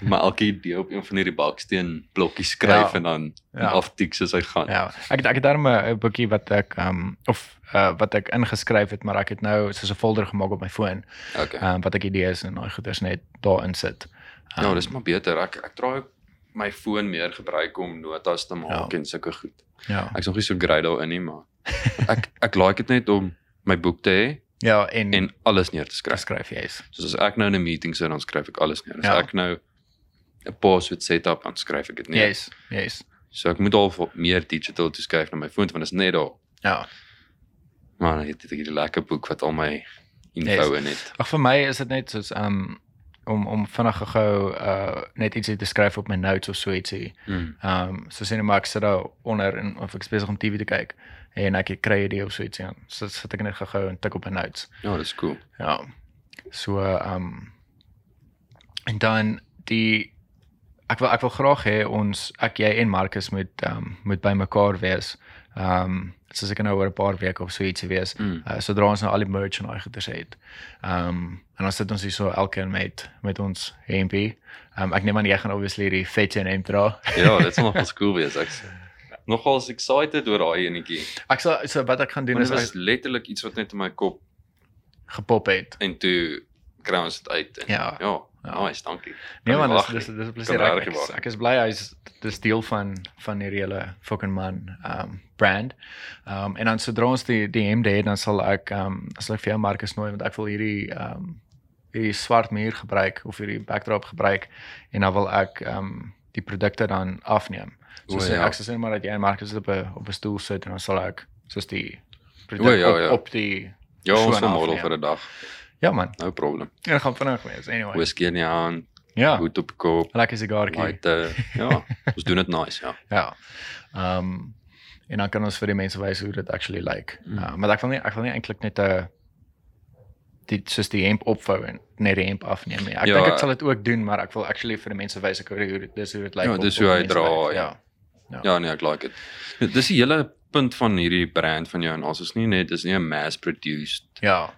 [SPEAKER 1] Ja. maar elke idee op een van hierdie baksteen blokkies skryf ja.
[SPEAKER 2] Ja.
[SPEAKER 1] en dan ja.
[SPEAKER 2] Ja.
[SPEAKER 1] aftik soos hy gaan. Ja.
[SPEAKER 2] Ja, ek het, ek het daarmee 'n boekie wat ek ehm um, of uh, wat ek ingeskryf het, maar ek het nou soos 'n folder gemaak op my foon,
[SPEAKER 1] Okay.
[SPEAKER 2] ehm um, wat ek idees en daai goeders net daarin sit.
[SPEAKER 1] Ja, dis maar beter. Ek ek draai ook my foon meer gebruik om notas te maak
[SPEAKER 2] Ja.
[SPEAKER 1] en sulke goed.
[SPEAKER 2] Ja.
[SPEAKER 1] Ek's nog nie so great daarin nie, maar ek ek like dit net om my boek te hê
[SPEAKER 2] Ja, en,
[SPEAKER 1] en alles neer te skryf.
[SPEAKER 2] skryf jy is.
[SPEAKER 1] Soos as ek nou in 'n meeting sit, dan skryf ek alles neer. As
[SPEAKER 2] Ja.
[SPEAKER 1] ja. ek nou 'n password set up, dan skryf ek dit neer.
[SPEAKER 2] Yes, yes.
[SPEAKER 1] So ek moet al vo- meer digital toe skuif na my foon want dit is net daar.
[SPEAKER 2] Ja.
[SPEAKER 1] Maar ek het ek hierdie lekker boek wat al my info in het.
[SPEAKER 2] Ag vir my is dit net soos um om om vinnig gou uh net ietsie te skryf op my notes of so ietsie.
[SPEAKER 1] Mm.
[SPEAKER 2] Um so sien maar ek sit daar onder en of ek besig om TV te kyk en ek kry 'n idee of so ietsie aan. So sit ek net gou-gou en tik op my notes.
[SPEAKER 1] Ja, dis cool.
[SPEAKER 2] Ja. So um en dan die ek wil ek wil graag hê ons ek jy en Marcus moet um moet bymekaar wees. Um soos ek nou oor 'n paar weke of so ietsie wees.
[SPEAKER 1] Mm.
[SPEAKER 2] Uh, sodra ons nou al die merch en daai goeders het. Ehm um, en dan sit ons hier so elkeen met met ons hempie. Ehm um, ek neem aan jy gaan obviously die vette en hemp dra. <laughs>
[SPEAKER 1] Ja, dit sal nogals cool wees. Ek's nogals excited oor daai enetjie.
[SPEAKER 2] Ek sal so wat ek gaan doen
[SPEAKER 1] Want
[SPEAKER 2] is
[SPEAKER 1] dit was
[SPEAKER 2] ek
[SPEAKER 1] letterlik iets wat net in my kop
[SPEAKER 2] gepop het.
[SPEAKER 1] en toe kry ons dit uit. En,
[SPEAKER 2] Ja.
[SPEAKER 1] Ja,
[SPEAKER 2] Ja.
[SPEAKER 1] ja, nice, dankie.
[SPEAKER 2] Nee
[SPEAKER 1] Kan
[SPEAKER 2] man,
[SPEAKER 1] nie
[SPEAKER 2] dis
[SPEAKER 1] wag
[SPEAKER 2] dis
[SPEAKER 1] nie.
[SPEAKER 2] dis 'n plesier.
[SPEAKER 1] Kan
[SPEAKER 2] Ek,
[SPEAKER 1] regtig
[SPEAKER 2] ek,
[SPEAKER 1] wag
[SPEAKER 2] ek is bly hy's dis deel van van hierdie hele fucking man ehm um, brand. Ehm um, en dan sodra ons die die hemde het, dan sal ek ehm um, sal ek vir jou Marcus nooi want ek wil hierdie ehm um, hierdie swart muur gebruik of hierdie backdrop gebruik en dan wil ek ehm um, die produkte dan afneem. So
[SPEAKER 1] O,
[SPEAKER 2] sê,
[SPEAKER 1] ja.
[SPEAKER 2] ek sal sê maar dat jy en Marcus op 'n op 'n stoel sit en dan sal ek soos die produk
[SPEAKER 1] O, ja,
[SPEAKER 2] op,
[SPEAKER 1] ja.
[SPEAKER 2] op die
[SPEAKER 1] Ja, ons
[SPEAKER 2] persoon
[SPEAKER 1] sal model
[SPEAKER 2] afneem.
[SPEAKER 1] vir 'n dag.
[SPEAKER 2] Ja man,
[SPEAKER 1] No problem.
[SPEAKER 2] dit gaan vinnig wees anyway.
[SPEAKER 1] Whisky in die hand,
[SPEAKER 2] ja.
[SPEAKER 1] hoed op die kop,
[SPEAKER 2] Lekker sigaartjie.
[SPEAKER 1] light.
[SPEAKER 2] <laughs>
[SPEAKER 1] Ja, ons doen dit nice, ja.
[SPEAKER 2] Ja. Ehm um, en dan kan ons vir die mense wys hoe dit actually lyk. Like.
[SPEAKER 1] Mm.
[SPEAKER 2] Uh, maar ek wil nie ek wil nie eintlik net 'n dit soos die hemp opvou en net die hemp afneem nie. Ek
[SPEAKER 1] Ja.
[SPEAKER 2] ja, dink ek sal dit ook doen, maar ek wil actually vir die mense wys ek hoe dit dis hoe dit lyk.
[SPEAKER 1] Ja,
[SPEAKER 2] op-
[SPEAKER 1] dis
[SPEAKER 2] op
[SPEAKER 1] hoe
[SPEAKER 2] die
[SPEAKER 1] hy
[SPEAKER 2] mense
[SPEAKER 1] dra,
[SPEAKER 2] lyk.
[SPEAKER 1] ja.
[SPEAKER 2] Ja.
[SPEAKER 1] Ja, nee, ek like dit. Dis die hele punt van hierdie brand van jou en ons is nie net is nie 'n mass produced
[SPEAKER 2] Ja.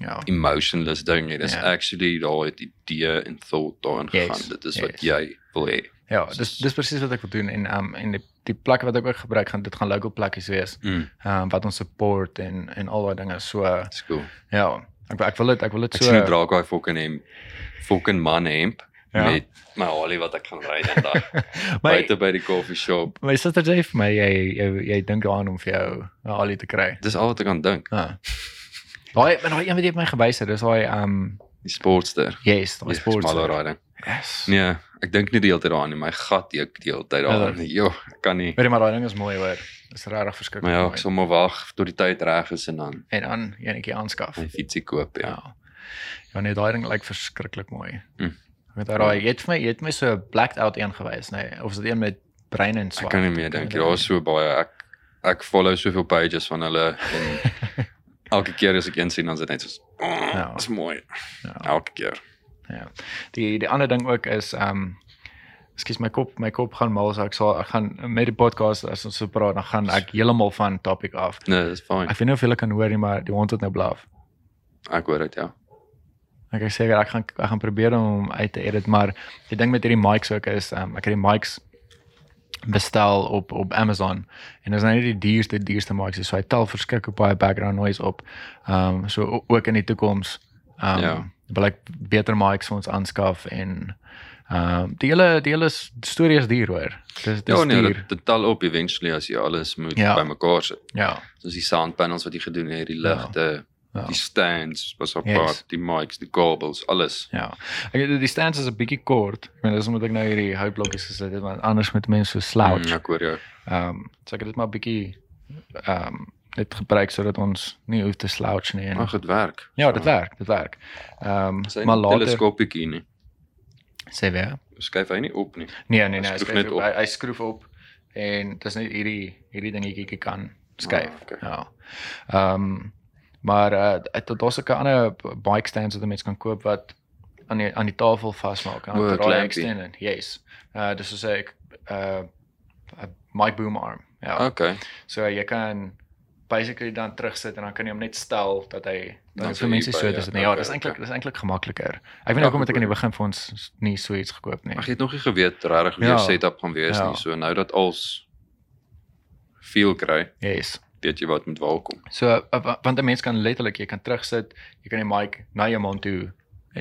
[SPEAKER 2] Ja.
[SPEAKER 1] emotionless ding nie. Dis
[SPEAKER 2] Ja.
[SPEAKER 1] actually daai idee en thought daarin
[SPEAKER 2] Yes,
[SPEAKER 1] gegaan. dit is wat
[SPEAKER 2] yes.
[SPEAKER 1] jy wil hê.
[SPEAKER 2] Ja, dis dis presies wat ek wil doen en ehm um, en die, die plekke wat ek ook gebruik gaan dit gaan local plekkies wees.
[SPEAKER 1] Mm,
[SPEAKER 2] Ehm um, wat ons support en en al daai dinge. So uh,
[SPEAKER 1] dis cool.
[SPEAKER 2] ja, ek ek wil dit ek wil dit
[SPEAKER 1] Ek
[SPEAKER 2] so
[SPEAKER 1] sien hoe dra ek daai fucking hemp, fucking man hemp
[SPEAKER 2] Ja.
[SPEAKER 1] ja. met my Harley wat ek gaan ry dan dag.
[SPEAKER 2] <laughs> Maar-
[SPEAKER 1] Buite by die koffieshop.
[SPEAKER 2] My suster sê vir my jy jy, jy dink daaraan om vir jou 'n alie te kry.
[SPEAKER 1] Dis al wat ek aan dink.
[SPEAKER 2] Ah. <laughs> Daai maar daai een wat jy het my gewys het, dis daai um
[SPEAKER 1] Die Sportster.
[SPEAKER 2] yes, daai
[SPEAKER 1] Die
[SPEAKER 2] sport.
[SPEAKER 1] smaller riding.
[SPEAKER 2] Yes. Nee.
[SPEAKER 1] Nee, ek dink nie die hele tyd daaraan nie. My gat ek die hele tyd
[SPEAKER 2] Ja,
[SPEAKER 1] daaraan. Jo, ek kan nie.
[SPEAKER 2] Maar daai ding is mooi hoor. Dis regtig verskriklik.
[SPEAKER 1] Maar ja,
[SPEAKER 2] mooi.
[SPEAKER 1] ek sal maar wag tot die tyd reg is en dan
[SPEAKER 2] en dan enetjie aanskaf.
[SPEAKER 1] my fietsie koop, ja.
[SPEAKER 2] Ja. Ja nee, daai ding lyk verskriklik mooi.
[SPEAKER 1] Mm.
[SPEAKER 2] Ek het daai jy het vir my jy het my so 'n blacked out een gewys, nee, of is dit een met brein en swart?
[SPEAKER 1] Ek kan nie meer dink nie.
[SPEAKER 2] Ja.
[SPEAKER 1] Daar's so baie ek ek follow soveel pages van hulle
[SPEAKER 2] <laughs>
[SPEAKER 1] en elke keer as ek een sien dan is dit net so.
[SPEAKER 2] Ja.
[SPEAKER 1] Ja, dis mooi.
[SPEAKER 2] Ja.
[SPEAKER 1] Elke keer.
[SPEAKER 2] Ja. Die die ander ding ook is ehm um, ekskuus my kop, my kop gaan mal so ek sal ek gaan met die podcast as ons so praat dan gaan ek heeltemal van topic af.
[SPEAKER 1] Nee, dis fyn.
[SPEAKER 2] Ek weet nie of julle kan hoor nie, maar die hond het nou blaf.
[SPEAKER 1] Ek hoor dit ja.
[SPEAKER 2] Ek is seker ek gaan ek gaan probeer om hom uit te edit, maar die ding met hierdie mics ook is ehm um, ek het die mics bestel op op Amazon en dit is nou nie die duurste duurste mics nie, so hy tel verskriklik baie background noise op. Ehm um, so o- ook in die toekoms ehm um, ja.
[SPEAKER 1] Ja.
[SPEAKER 2] wil ek beter mics vir ons aanskaf en ehm um, die hele die hele s- storie is duur hoor. Dis dis
[SPEAKER 1] Ja, nee, dit,
[SPEAKER 2] duur.
[SPEAKER 1] dit tel op eventually as jy alles moet
[SPEAKER 2] Ja.
[SPEAKER 1] ja. bymekaar sit.
[SPEAKER 2] Ja.
[SPEAKER 1] Soos die sound panels wat jy gedoen het, die ligte,
[SPEAKER 2] ja.
[SPEAKER 1] die stands, was op
[SPEAKER 2] Yes.
[SPEAKER 1] part, die mics, die kabels, alles.
[SPEAKER 2] Ja. Ek weet die stands is 'n bietjie kort. Ek meen dis omdat ek nou hierdie houtblokkies gesit het want anders moet mense so slouch.
[SPEAKER 1] Mm, ek hoor jou.
[SPEAKER 2] Ehm um, so ek het dit maar 'n bietjie ehm um, net gebruik sodat ons nie hoef te slouch nie en
[SPEAKER 1] Mag dit werk.
[SPEAKER 2] ja, dit werk, dit werk. Ehm
[SPEAKER 1] Sy
[SPEAKER 2] um, maar later
[SPEAKER 1] teleskopietjie nie.
[SPEAKER 2] sê weer.
[SPEAKER 1] Skuif hy nie op nie.
[SPEAKER 2] Nee, nee, nee, hy
[SPEAKER 1] Hy skroef
[SPEAKER 2] skroef
[SPEAKER 1] net
[SPEAKER 2] op.
[SPEAKER 1] op.
[SPEAKER 2] Hy, hy skroef op en dis net hierdie hierdie dingetjie kan skuif.
[SPEAKER 1] Ah, okay.
[SPEAKER 2] Ja. Ehm um, maar uh, tot daar's ook 'n ander bike stands wat 'n mens kan koop wat aan die aan die tafel vasmaak en
[SPEAKER 1] O,
[SPEAKER 2] dan draai
[SPEAKER 1] clampie.
[SPEAKER 2] extend en yes. Uh dis soos 'n uh 'n mic boom arm. Ja.
[SPEAKER 1] Okay.
[SPEAKER 2] So jy kan basically dan terugsit en dan kan jy hom net stel dat hy
[SPEAKER 1] Dan
[SPEAKER 2] dan
[SPEAKER 1] is hy
[SPEAKER 2] Nou, vir mense
[SPEAKER 1] by,
[SPEAKER 2] so
[SPEAKER 1] ja,
[SPEAKER 2] dis nee, ja,
[SPEAKER 1] okay,
[SPEAKER 2] dis eintlik
[SPEAKER 1] okay.
[SPEAKER 2] dis eintlik gemakliker. Ek weet
[SPEAKER 1] Ja,
[SPEAKER 2] nie hoekom het ek aan die
[SPEAKER 1] goed.
[SPEAKER 2] begin vir ons s- nie so iets gekoop nie.
[SPEAKER 1] Ag jy het nog nie geweet regtig hoe
[SPEAKER 2] Ja.
[SPEAKER 1] jou setup gaan wees
[SPEAKER 2] Ja.
[SPEAKER 1] nie. So nou dat als feel kry,
[SPEAKER 2] Yes.
[SPEAKER 1] weet jy wat moet waar kom.
[SPEAKER 2] So uh, wa- want 'n mens kan letterlik jy kan terugsit, jy kan die mic na jou mond toe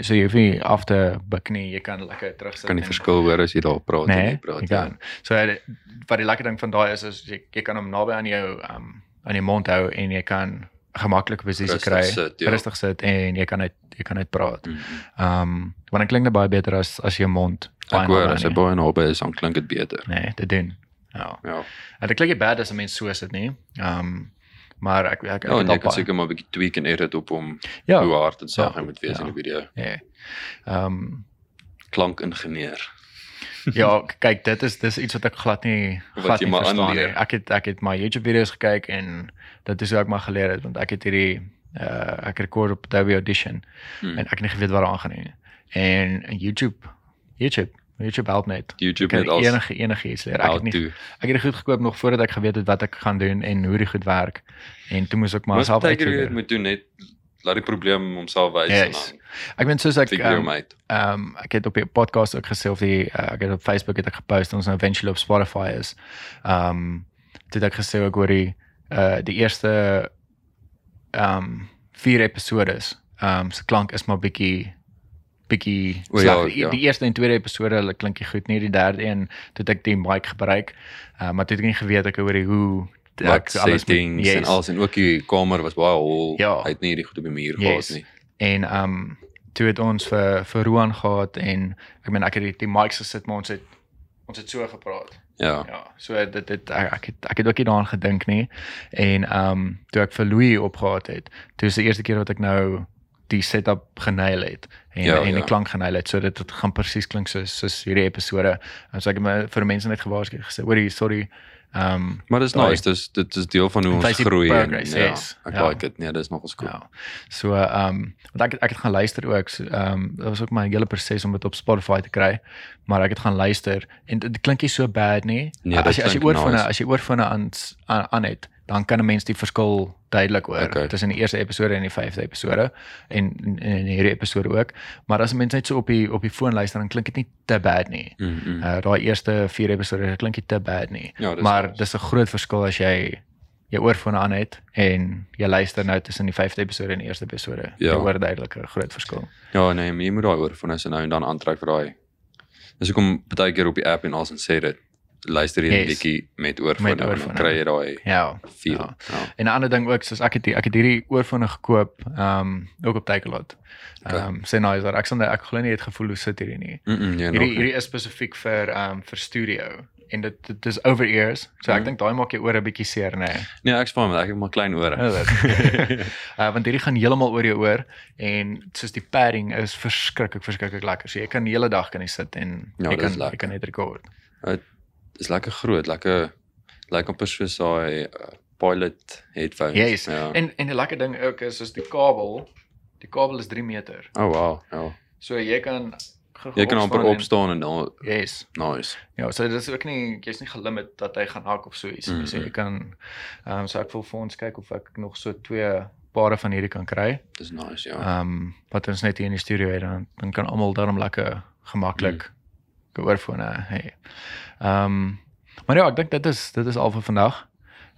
[SPEAKER 2] so jy hoef nie af te buik nie, jy kan lekker terugsit.
[SPEAKER 1] Kan die
[SPEAKER 2] en-
[SPEAKER 1] verskil hoor as jy daar praat en
[SPEAKER 2] Nee,
[SPEAKER 1] jy praat. ja.
[SPEAKER 2] jy kan. So dit- wat die lekker ding van daai is is jy, jy kan hom naby aan jou um aan die mond hou en jy kan 'n gemaklike posisie
[SPEAKER 1] Rustig
[SPEAKER 2] kry.
[SPEAKER 1] sit, ja.
[SPEAKER 2] Rustig sit en jy kan uit jy kan uit praat.
[SPEAKER 1] Mm.
[SPEAKER 2] Um want dit klink net baie beter as as jou mond. baie
[SPEAKER 1] Ek hoor
[SPEAKER 2] naby nee.
[SPEAKER 1] as
[SPEAKER 2] aan
[SPEAKER 1] hy
[SPEAKER 2] jou-
[SPEAKER 1] baie naby is, dan klink dit beter.
[SPEAKER 2] Nee, dit doen. Ja.
[SPEAKER 1] Ja.
[SPEAKER 2] En dit klink nie bad as 'n mens so sit nie. Um maar ek ek, ek
[SPEAKER 1] Ja,
[SPEAKER 2] het
[SPEAKER 1] en
[SPEAKER 2] al
[SPEAKER 1] jy kan
[SPEAKER 2] baie-
[SPEAKER 1] seker maar 'n bietjie tweak en edit op hom
[SPEAKER 2] Ja.
[SPEAKER 1] hoe hard en sag
[SPEAKER 2] Ja.
[SPEAKER 1] hy moet wees in die video.
[SPEAKER 2] Nee. Ehm um,
[SPEAKER 1] Klankingenieur.
[SPEAKER 2] Ja, k- kyk, dit is dis iets wat ek glad nie
[SPEAKER 1] Wat
[SPEAKER 2] glad
[SPEAKER 1] jy
[SPEAKER 2] nie
[SPEAKER 1] maar
[SPEAKER 2] verstaan nie.
[SPEAKER 1] aanleer.
[SPEAKER 2] Ek het ek het my YouTube video's gekyk en dit is hoe ek maar geleer het want ek het hierdie uh ek rekord op Adobe Audition
[SPEAKER 1] Mm.
[SPEAKER 2] en ek het nie geweet wat daar aangaan nie. En YouTube YouTube YouTube help net. Jy
[SPEAKER 1] YouTube
[SPEAKER 2] kan
[SPEAKER 1] net als
[SPEAKER 2] enige enige iets leer. Ek
[SPEAKER 1] how
[SPEAKER 2] het nie
[SPEAKER 1] to.
[SPEAKER 2] ek het dit goed gekoop nog voordat ek geweet het wat ek gaan doen en hoe dit goed werk. En toe moes ek maar
[SPEAKER 1] Maar
[SPEAKER 2] self
[SPEAKER 1] baie keer jy
[SPEAKER 2] uitfigure.
[SPEAKER 1] dit moet doen net laat die probleem homself wys en
[SPEAKER 2] Yes.
[SPEAKER 1] dan
[SPEAKER 2] Ek meen soos ek
[SPEAKER 1] figure hom
[SPEAKER 2] ehm
[SPEAKER 1] uit.
[SPEAKER 2] um, ek het op die podcast ook gesê of die uh, ek het op Facebook het ek gepost ons nou eventually op Spotify is. Ehm um, dit ek gesê ook oor die uh die eerste ehm um, vier episodes. Ehm um, se klank is maar bietjie bietjie
[SPEAKER 1] O ja,
[SPEAKER 2] sleg. Die-
[SPEAKER 1] ja.
[SPEAKER 2] die eerste en tweede episode hulle klink nie goed nie. Die derde een toe het ek die mic gebruik. Ehm uh, maar toe het ek nie geweet ek oor die hoe
[SPEAKER 1] Ek
[SPEAKER 2] alles moet-
[SPEAKER 1] settings en
[SPEAKER 2] Yes.
[SPEAKER 1] alles en ook die kamer was baie hol.
[SPEAKER 2] Ja.
[SPEAKER 1] Hy het nie hierdie goed op die muur
[SPEAKER 2] Yes.
[SPEAKER 1] gehad nie.
[SPEAKER 2] en ehm um, toe het ons vir vir Roan gehad en ek meen ek het die, die mics gesit maar ons het ons het so gepraat.
[SPEAKER 1] Ja.
[SPEAKER 2] Ja, so dit dit ek ek het, ek het ook nie daaraan gedink nie. En ehm um, toe ek vir Louis opgehaat het, toe is die eerste keer wat ek nou die setup geneil het en
[SPEAKER 1] Ja,
[SPEAKER 2] ja, en die
[SPEAKER 1] ja.
[SPEAKER 2] ja. klank geneil het. So dit dit gaan presies klink soos soos hierdie episode. En so ek het my vir mense net gewaarsku gesê, "Oor hier, sorry." Ehm um,
[SPEAKER 1] Maar dis
[SPEAKER 2] Daai-
[SPEAKER 1] nice, dis dit is deel van hoe ons
[SPEAKER 2] Wys die
[SPEAKER 1] groei en
[SPEAKER 2] progress,
[SPEAKER 1] ja,
[SPEAKER 2] yes.
[SPEAKER 1] ek
[SPEAKER 2] Ja.
[SPEAKER 1] like dit. Nee, dis nogals cool.
[SPEAKER 2] Ja. So ehm um, want ek het- ek het gaan luister ook. So, Ehm um, dit was ook my hele proses om dit op Spotify te kry, maar ek het gaan luister en dit, dit klink nie so bad nie.
[SPEAKER 1] Nee, dit
[SPEAKER 2] as jy as jy
[SPEAKER 1] klink
[SPEAKER 2] oorfone
[SPEAKER 1] nice.
[SPEAKER 2] as jy oorfone aan s- aan, aan het, dan kan 'n mens die verskil duidelik hoor
[SPEAKER 1] Okay.
[SPEAKER 2] tussen die eerste episode en die vyfde episode en en, en hierdie episode ook. Maar as 'n mens net so op die op die foon luister, dan klink dit nie te bad nie.
[SPEAKER 1] Mm, mm.
[SPEAKER 2] Uh, daai eerste 4 episode dit klink nie te bad nie.
[SPEAKER 1] Ja, dis
[SPEAKER 2] maar
[SPEAKER 1] nice.
[SPEAKER 2] dis 'n groot verskil as jy jou oorfone aan het en jy luister nou tussen die 5de episode en die eerste episode.
[SPEAKER 1] Ja.
[SPEAKER 2] Jy hoor duidelik 'n groot verskil.
[SPEAKER 1] Ja, nee, maar jy moet daai oorfone se nou en dan aantrek vir daai. Dis hoekom baie keer op die app en alles en sê dit luister jy 'n
[SPEAKER 2] Yes.
[SPEAKER 1] liedjie met oorfone
[SPEAKER 2] Met
[SPEAKER 1] en dan
[SPEAKER 2] oorfone.
[SPEAKER 1] kry jy daai
[SPEAKER 2] Ja.
[SPEAKER 1] feel.
[SPEAKER 2] Ja.
[SPEAKER 1] Ja.
[SPEAKER 2] En 'n ander ding ook, soos ek het die, ek het hierdie oorfone gekoop, ehm um, ook op Takealot. Ehm um, sê nou is daar ek sê ek glo nie dit gevoel hoe sit hierdie nie.
[SPEAKER 1] Mm, mm, nee,
[SPEAKER 2] Hierdie
[SPEAKER 1] nog nie.
[SPEAKER 2] hierdie is spesifiek vir ehm um, vir studio en dit dit is over ears. So ek
[SPEAKER 1] Mhm.
[SPEAKER 2] dink daai maak jou ore 'n bietjie seer, nê. Nee.
[SPEAKER 1] nee, ek's fine met ek het maar klein ore.
[SPEAKER 2] Oh, dit. <laughs> uh, want hierdie gaan heeltemal oor jou oor en soos die padding is verskriklik verskriklik lekker. So jy kan die hele dag kan jy sit en
[SPEAKER 1] Ja,
[SPEAKER 2] jy
[SPEAKER 1] dit
[SPEAKER 2] kan
[SPEAKER 1] is lekker.
[SPEAKER 2] jy kan net rekord.
[SPEAKER 1] Dis lekker groot, lekker lyk amper soos daai uh, pilot headphones.
[SPEAKER 2] Yes.
[SPEAKER 1] Ja.
[SPEAKER 2] En en die lekker ding ook is soos die kabel. Die kabel is 3 meter.
[SPEAKER 1] Oh wow. Ja.
[SPEAKER 2] So jy kan ge-
[SPEAKER 1] Jy kan amper
[SPEAKER 2] opstaan en-
[SPEAKER 1] opstaan en dan
[SPEAKER 2] Yes.
[SPEAKER 1] nice.
[SPEAKER 2] Ja, so dit is ook nie jy's nie gelimit dat hy gaan hak of so iets. Mm
[SPEAKER 1] Mm,
[SPEAKER 2] -hmm. So
[SPEAKER 1] mm.
[SPEAKER 2] jy kan ehm um, so ek wil vir ons kyk of ek nog so twee pare van hierdie kan kry.
[SPEAKER 1] Dis nice, ja.
[SPEAKER 2] Ehm um, wat ons net hier in die studio het dan dan kan almal daarom lekker gemaklik
[SPEAKER 1] Hmm.
[SPEAKER 2] mm. oorfone hê. Ehm um, maar ja, ek dink dit is dit is al vir vandag.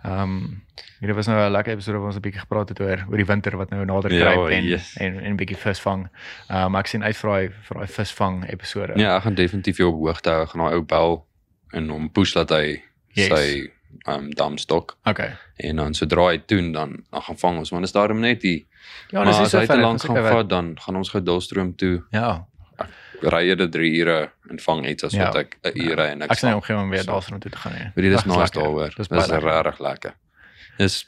[SPEAKER 2] Ehm um, hierdie was nou 'n lekker episode waar ons 'n bietjie gepraat het oor oor die winter wat nou nader
[SPEAKER 1] Ja,
[SPEAKER 2] kruip en,
[SPEAKER 1] yes.
[SPEAKER 2] en en 'n bietjie visvang. Ehm um, ek sien uit vir daai vir daai visvang episode.
[SPEAKER 1] Nee, ek gaan definitief jou op hoogte hou gaan daai ou bel en hom push dat hy
[SPEAKER 2] Yes.
[SPEAKER 1] yes. sy um damstok
[SPEAKER 2] Okay.
[SPEAKER 1] En dan sodra hy toon dan dan gaan vang ons want is daarom net die
[SPEAKER 2] Ja,
[SPEAKER 1] maar as hy te
[SPEAKER 2] ver,
[SPEAKER 1] lank
[SPEAKER 2] dis nie
[SPEAKER 1] gaan
[SPEAKER 2] so ver.
[SPEAKER 1] vat dan gaan ons gedulstroom toe
[SPEAKER 2] Ja.
[SPEAKER 1] ry eerder 3 ure en vang iets as
[SPEAKER 2] Ja.
[SPEAKER 1] wat ek 'n uur ry en
[SPEAKER 2] Ek
[SPEAKER 1] ek
[SPEAKER 2] sien
[SPEAKER 1] vang.
[SPEAKER 2] hom geen om weer
[SPEAKER 1] So.
[SPEAKER 2] daarson toe te gaan nie.
[SPEAKER 1] Weet jy dis
[SPEAKER 2] Ag, dis
[SPEAKER 1] nice
[SPEAKER 2] lekker.
[SPEAKER 1] daaroor. Dis
[SPEAKER 2] Dis baie lekker.
[SPEAKER 1] regtig lekker. Dis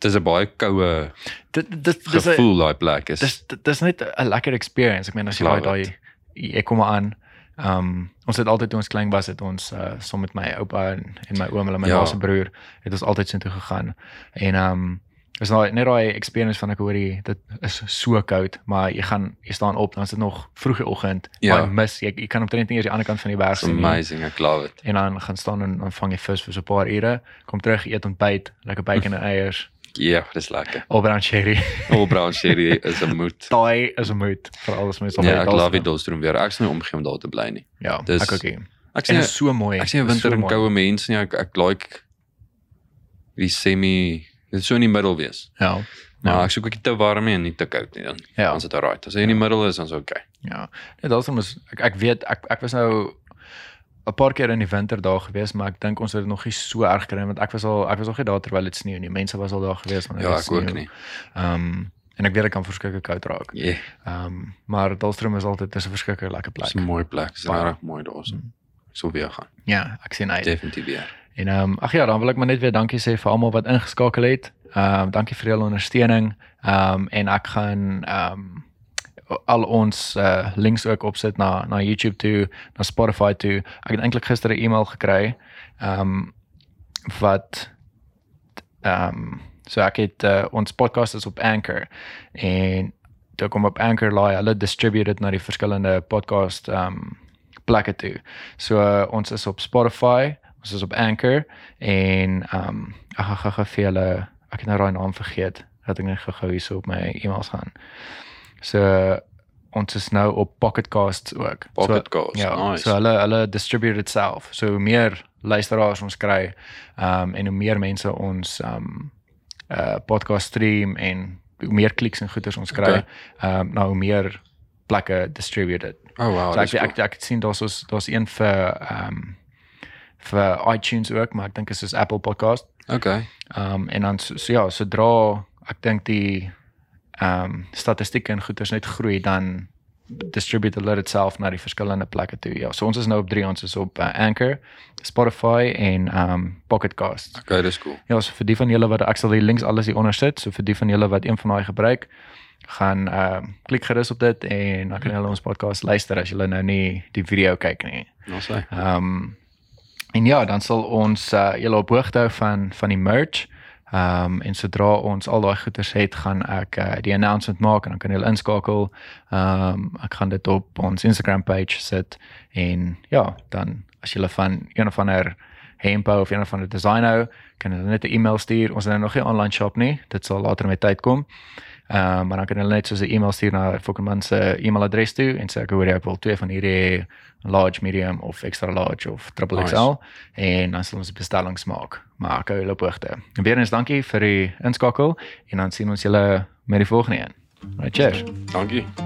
[SPEAKER 1] dis 'n baie koue
[SPEAKER 2] Dit dit dis 'n
[SPEAKER 1] gevoel daai plek is.
[SPEAKER 2] dis dit- dis net 'n lekker experience. Ek meen as jy
[SPEAKER 1] Love
[SPEAKER 2] daai daai ek kom maar aan. Ehm um, ons het altyd toe ons klein was het ons uh, saam met my oupa en, en my oom en my
[SPEAKER 1] Ja.
[SPEAKER 2] laaste broer het ons altyd so toe gegaan. En ehm um, is nou net daai experience van ek hoor jy dit is so koud, maar jy gaan jy staan op dan is dit nog vroeg die oggend.
[SPEAKER 1] Ja.
[SPEAKER 2] Ja. Jy mis jy, jy kan omtrent nie eers die ander kant van die berg
[SPEAKER 1] It's
[SPEAKER 2] sien nie.
[SPEAKER 1] amazing, ek love it.
[SPEAKER 2] En dan gaan staan en dan vang jy vis vir so 'n paar ure, kom terug, eet ontbyt, lekker
[SPEAKER 1] <laughs>
[SPEAKER 2] bacon en eiers,
[SPEAKER 1] Ja, yeah, dis lekker.
[SPEAKER 2] al brown sherry. <laughs>
[SPEAKER 1] All brown sherry is 'n moed.
[SPEAKER 2] Daai is 'n moet vir alles mense
[SPEAKER 1] Ja, ek love die dolstroom weer. Ek sien nie omgee om daar te bly nie.
[SPEAKER 2] Ja,
[SPEAKER 1] Dis-
[SPEAKER 2] ek ook. Ja. nie.
[SPEAKER 1] Ek
[SPEAKER 2] En
[SPEAKER 1] sien
[SPEAKER 2] dit is so mooi.
[SPEAKER 1] Ek sien
[SPEAKER 2] Dit is
[SPEAKER 1] winter
[SPEAKER 2] so
[SPEAKER 1] en
[SPEAKER 2] mooi.
[SPEAKER 1] koue mense nie, ek ek like die semi dit sou in die middel wees.
[SPEAKER 2] Ja.
[SPEAKER 1] Maar ek soek ook nie te warm nie en nie te koud nie dan.
[SPEAKER 2] Ja.
[SPEAKER 1] Dan sit dit reg. As hy in die middel is, dan's okay.
[SPEAKER 2] Ja. Net daarom is ek ek weet ek ek was nou 'n paar keer in die winter daar gewees, maar ek dink ons het dit nog nie so erg gekry nie, want ek was al ek was nog nie daar terwyl dit sneeu nie. Mense was al daar gewees wanneer
[SPEAKER 1] Ja,
[SPEAKER 2] dit
[SPEAKER 1] ek
[SPEAKER 2] sneeu.
[SPEAKER 1] ook nie.
[SPEAKER 2] Ehm um, en ek weet dit kan verskriklik koud raak.
[SPEAKER 1] Ja, yeah,
[SPEAKER 2] Ehm um, maar Dalstrom is altyd dis 'n verskriklik lekker
[SPEAKER 1] dis
[SPEAKER 2] plek.
[SPEAKER 1] 'n mooi plek. Dis
[SPEAKER 2] Baie.
[SPEAKER 1] reg mooi daarso. Ek sou weer gaan.
[SPEAKER 2] Ja, ek sien uit.
[SPEAKER 1] Definitief weer.
[SPEAKER 2] En ehm um, ag ja, dan wil ek maar net weer dankie sê vir almal wat ingeskakel het. Ehm um, dankie vir julle ondersteuning. Ehm um, en ek gaan ehm um, al ons uh, links ook opsit na na YouTube toe, na Spotify toe. Ek het eintlik gister 'n e-mail gekry. Ehm um, wat ehm um, so ek het uh, ons podcast is op Anchor en toe kom op Anchor laai hulle distribute dit na die verskillende podcast ehm um, plekke toe. So uh, ons is op Spotify, ons is op Anchor en ehm um, ek gaan gou-gou vir julle ek het nou daai naam vergeet dat ek net gou-gou hierso op my e-mails gaan. So ons is nou op Pocket Casts ook.
[SPEAKER 1] Pocket
[SPEAKER 2] so,
[SPEAKER 1] Casts,
[SPEAKER 2] Ja,
[SPEAKER 1] nice.
[SPEAKER 2] so hulle hulle distribute dit self. So hoe meer luisteraars ons kry, ehm um, en hoe meer mense ons ehm um, uh podcast stream en hoe meer kliks en goeders ons kry, ehm
[SPEAKER 1] Okay.
[SPEAKER 2] okay. um, nou hoe meer plekke distribute dit.
[SPEAKER 1] Oh wow,
[SPEAKER 2] So ek
[SPEAKER 1] dis
[SPEAKER 2] ek ek,
[SPEAKER 1] cool.
[SPEAKER 2] ek het sien daar's ons- daar's een vir ehm um, vir iTunes ook, maar ek dink is soos Apple Podcast.
[SPEAKER 1] Okay.
[SPEAKER 2] Ehm um, en dan so, so ja, sodra ek dink die ehm um, statistieke en goeders net groei dan distribute hulle dit self na die verskillende plekke toe. Ja, so ons is nou op 3, ons is op uh, Anchor, Spotify en ehm um, Pocket Casts.
[SPEAKER 1] Okay, dis cool.
[SPEAKER 2] Ja, so vir die van julle wat ek sal die links alles hier onder sit, so vir die van julle wat een van daai gebruik, gaan ehm uh, klik gerus op dit en dan kan julle ons podcast luister as julle nou nie die video kyk nie.
[SPEAKER 1] Ons sê.
[SPEAKER 2] Ehm um, en ja, dan sal ons uh, julle op hoogte hou van van die merch. Ehm um, en sodra ons al daai goeders het, gaan ek uh, die announcement maak en dan kan julle inskakel. Ehm um, ek gaan dit op ons Instagram page sit en ja, dan as julle van een of ander hemp hou of een of ander design hou, kan hulle net 'n e-mail stuur. Ons het nou nog nie online shop nie. Dit sal later met tyd kom. Ehm um, maar dan kan hulle net soos 'n e-mail stuur na Fokkerman se e-mailadres toe en sê ek hoor jy wil twee van hierdie hê, large, medium of extra large of triple XL nice. en dan sal ons die bestellings maak. Maar ek hou julle op hoogte. En weer eens dankie vir die inskakel en dan sien ons julle met die volgende een. Right, cheers.
[SPEAKER 1] Dankie.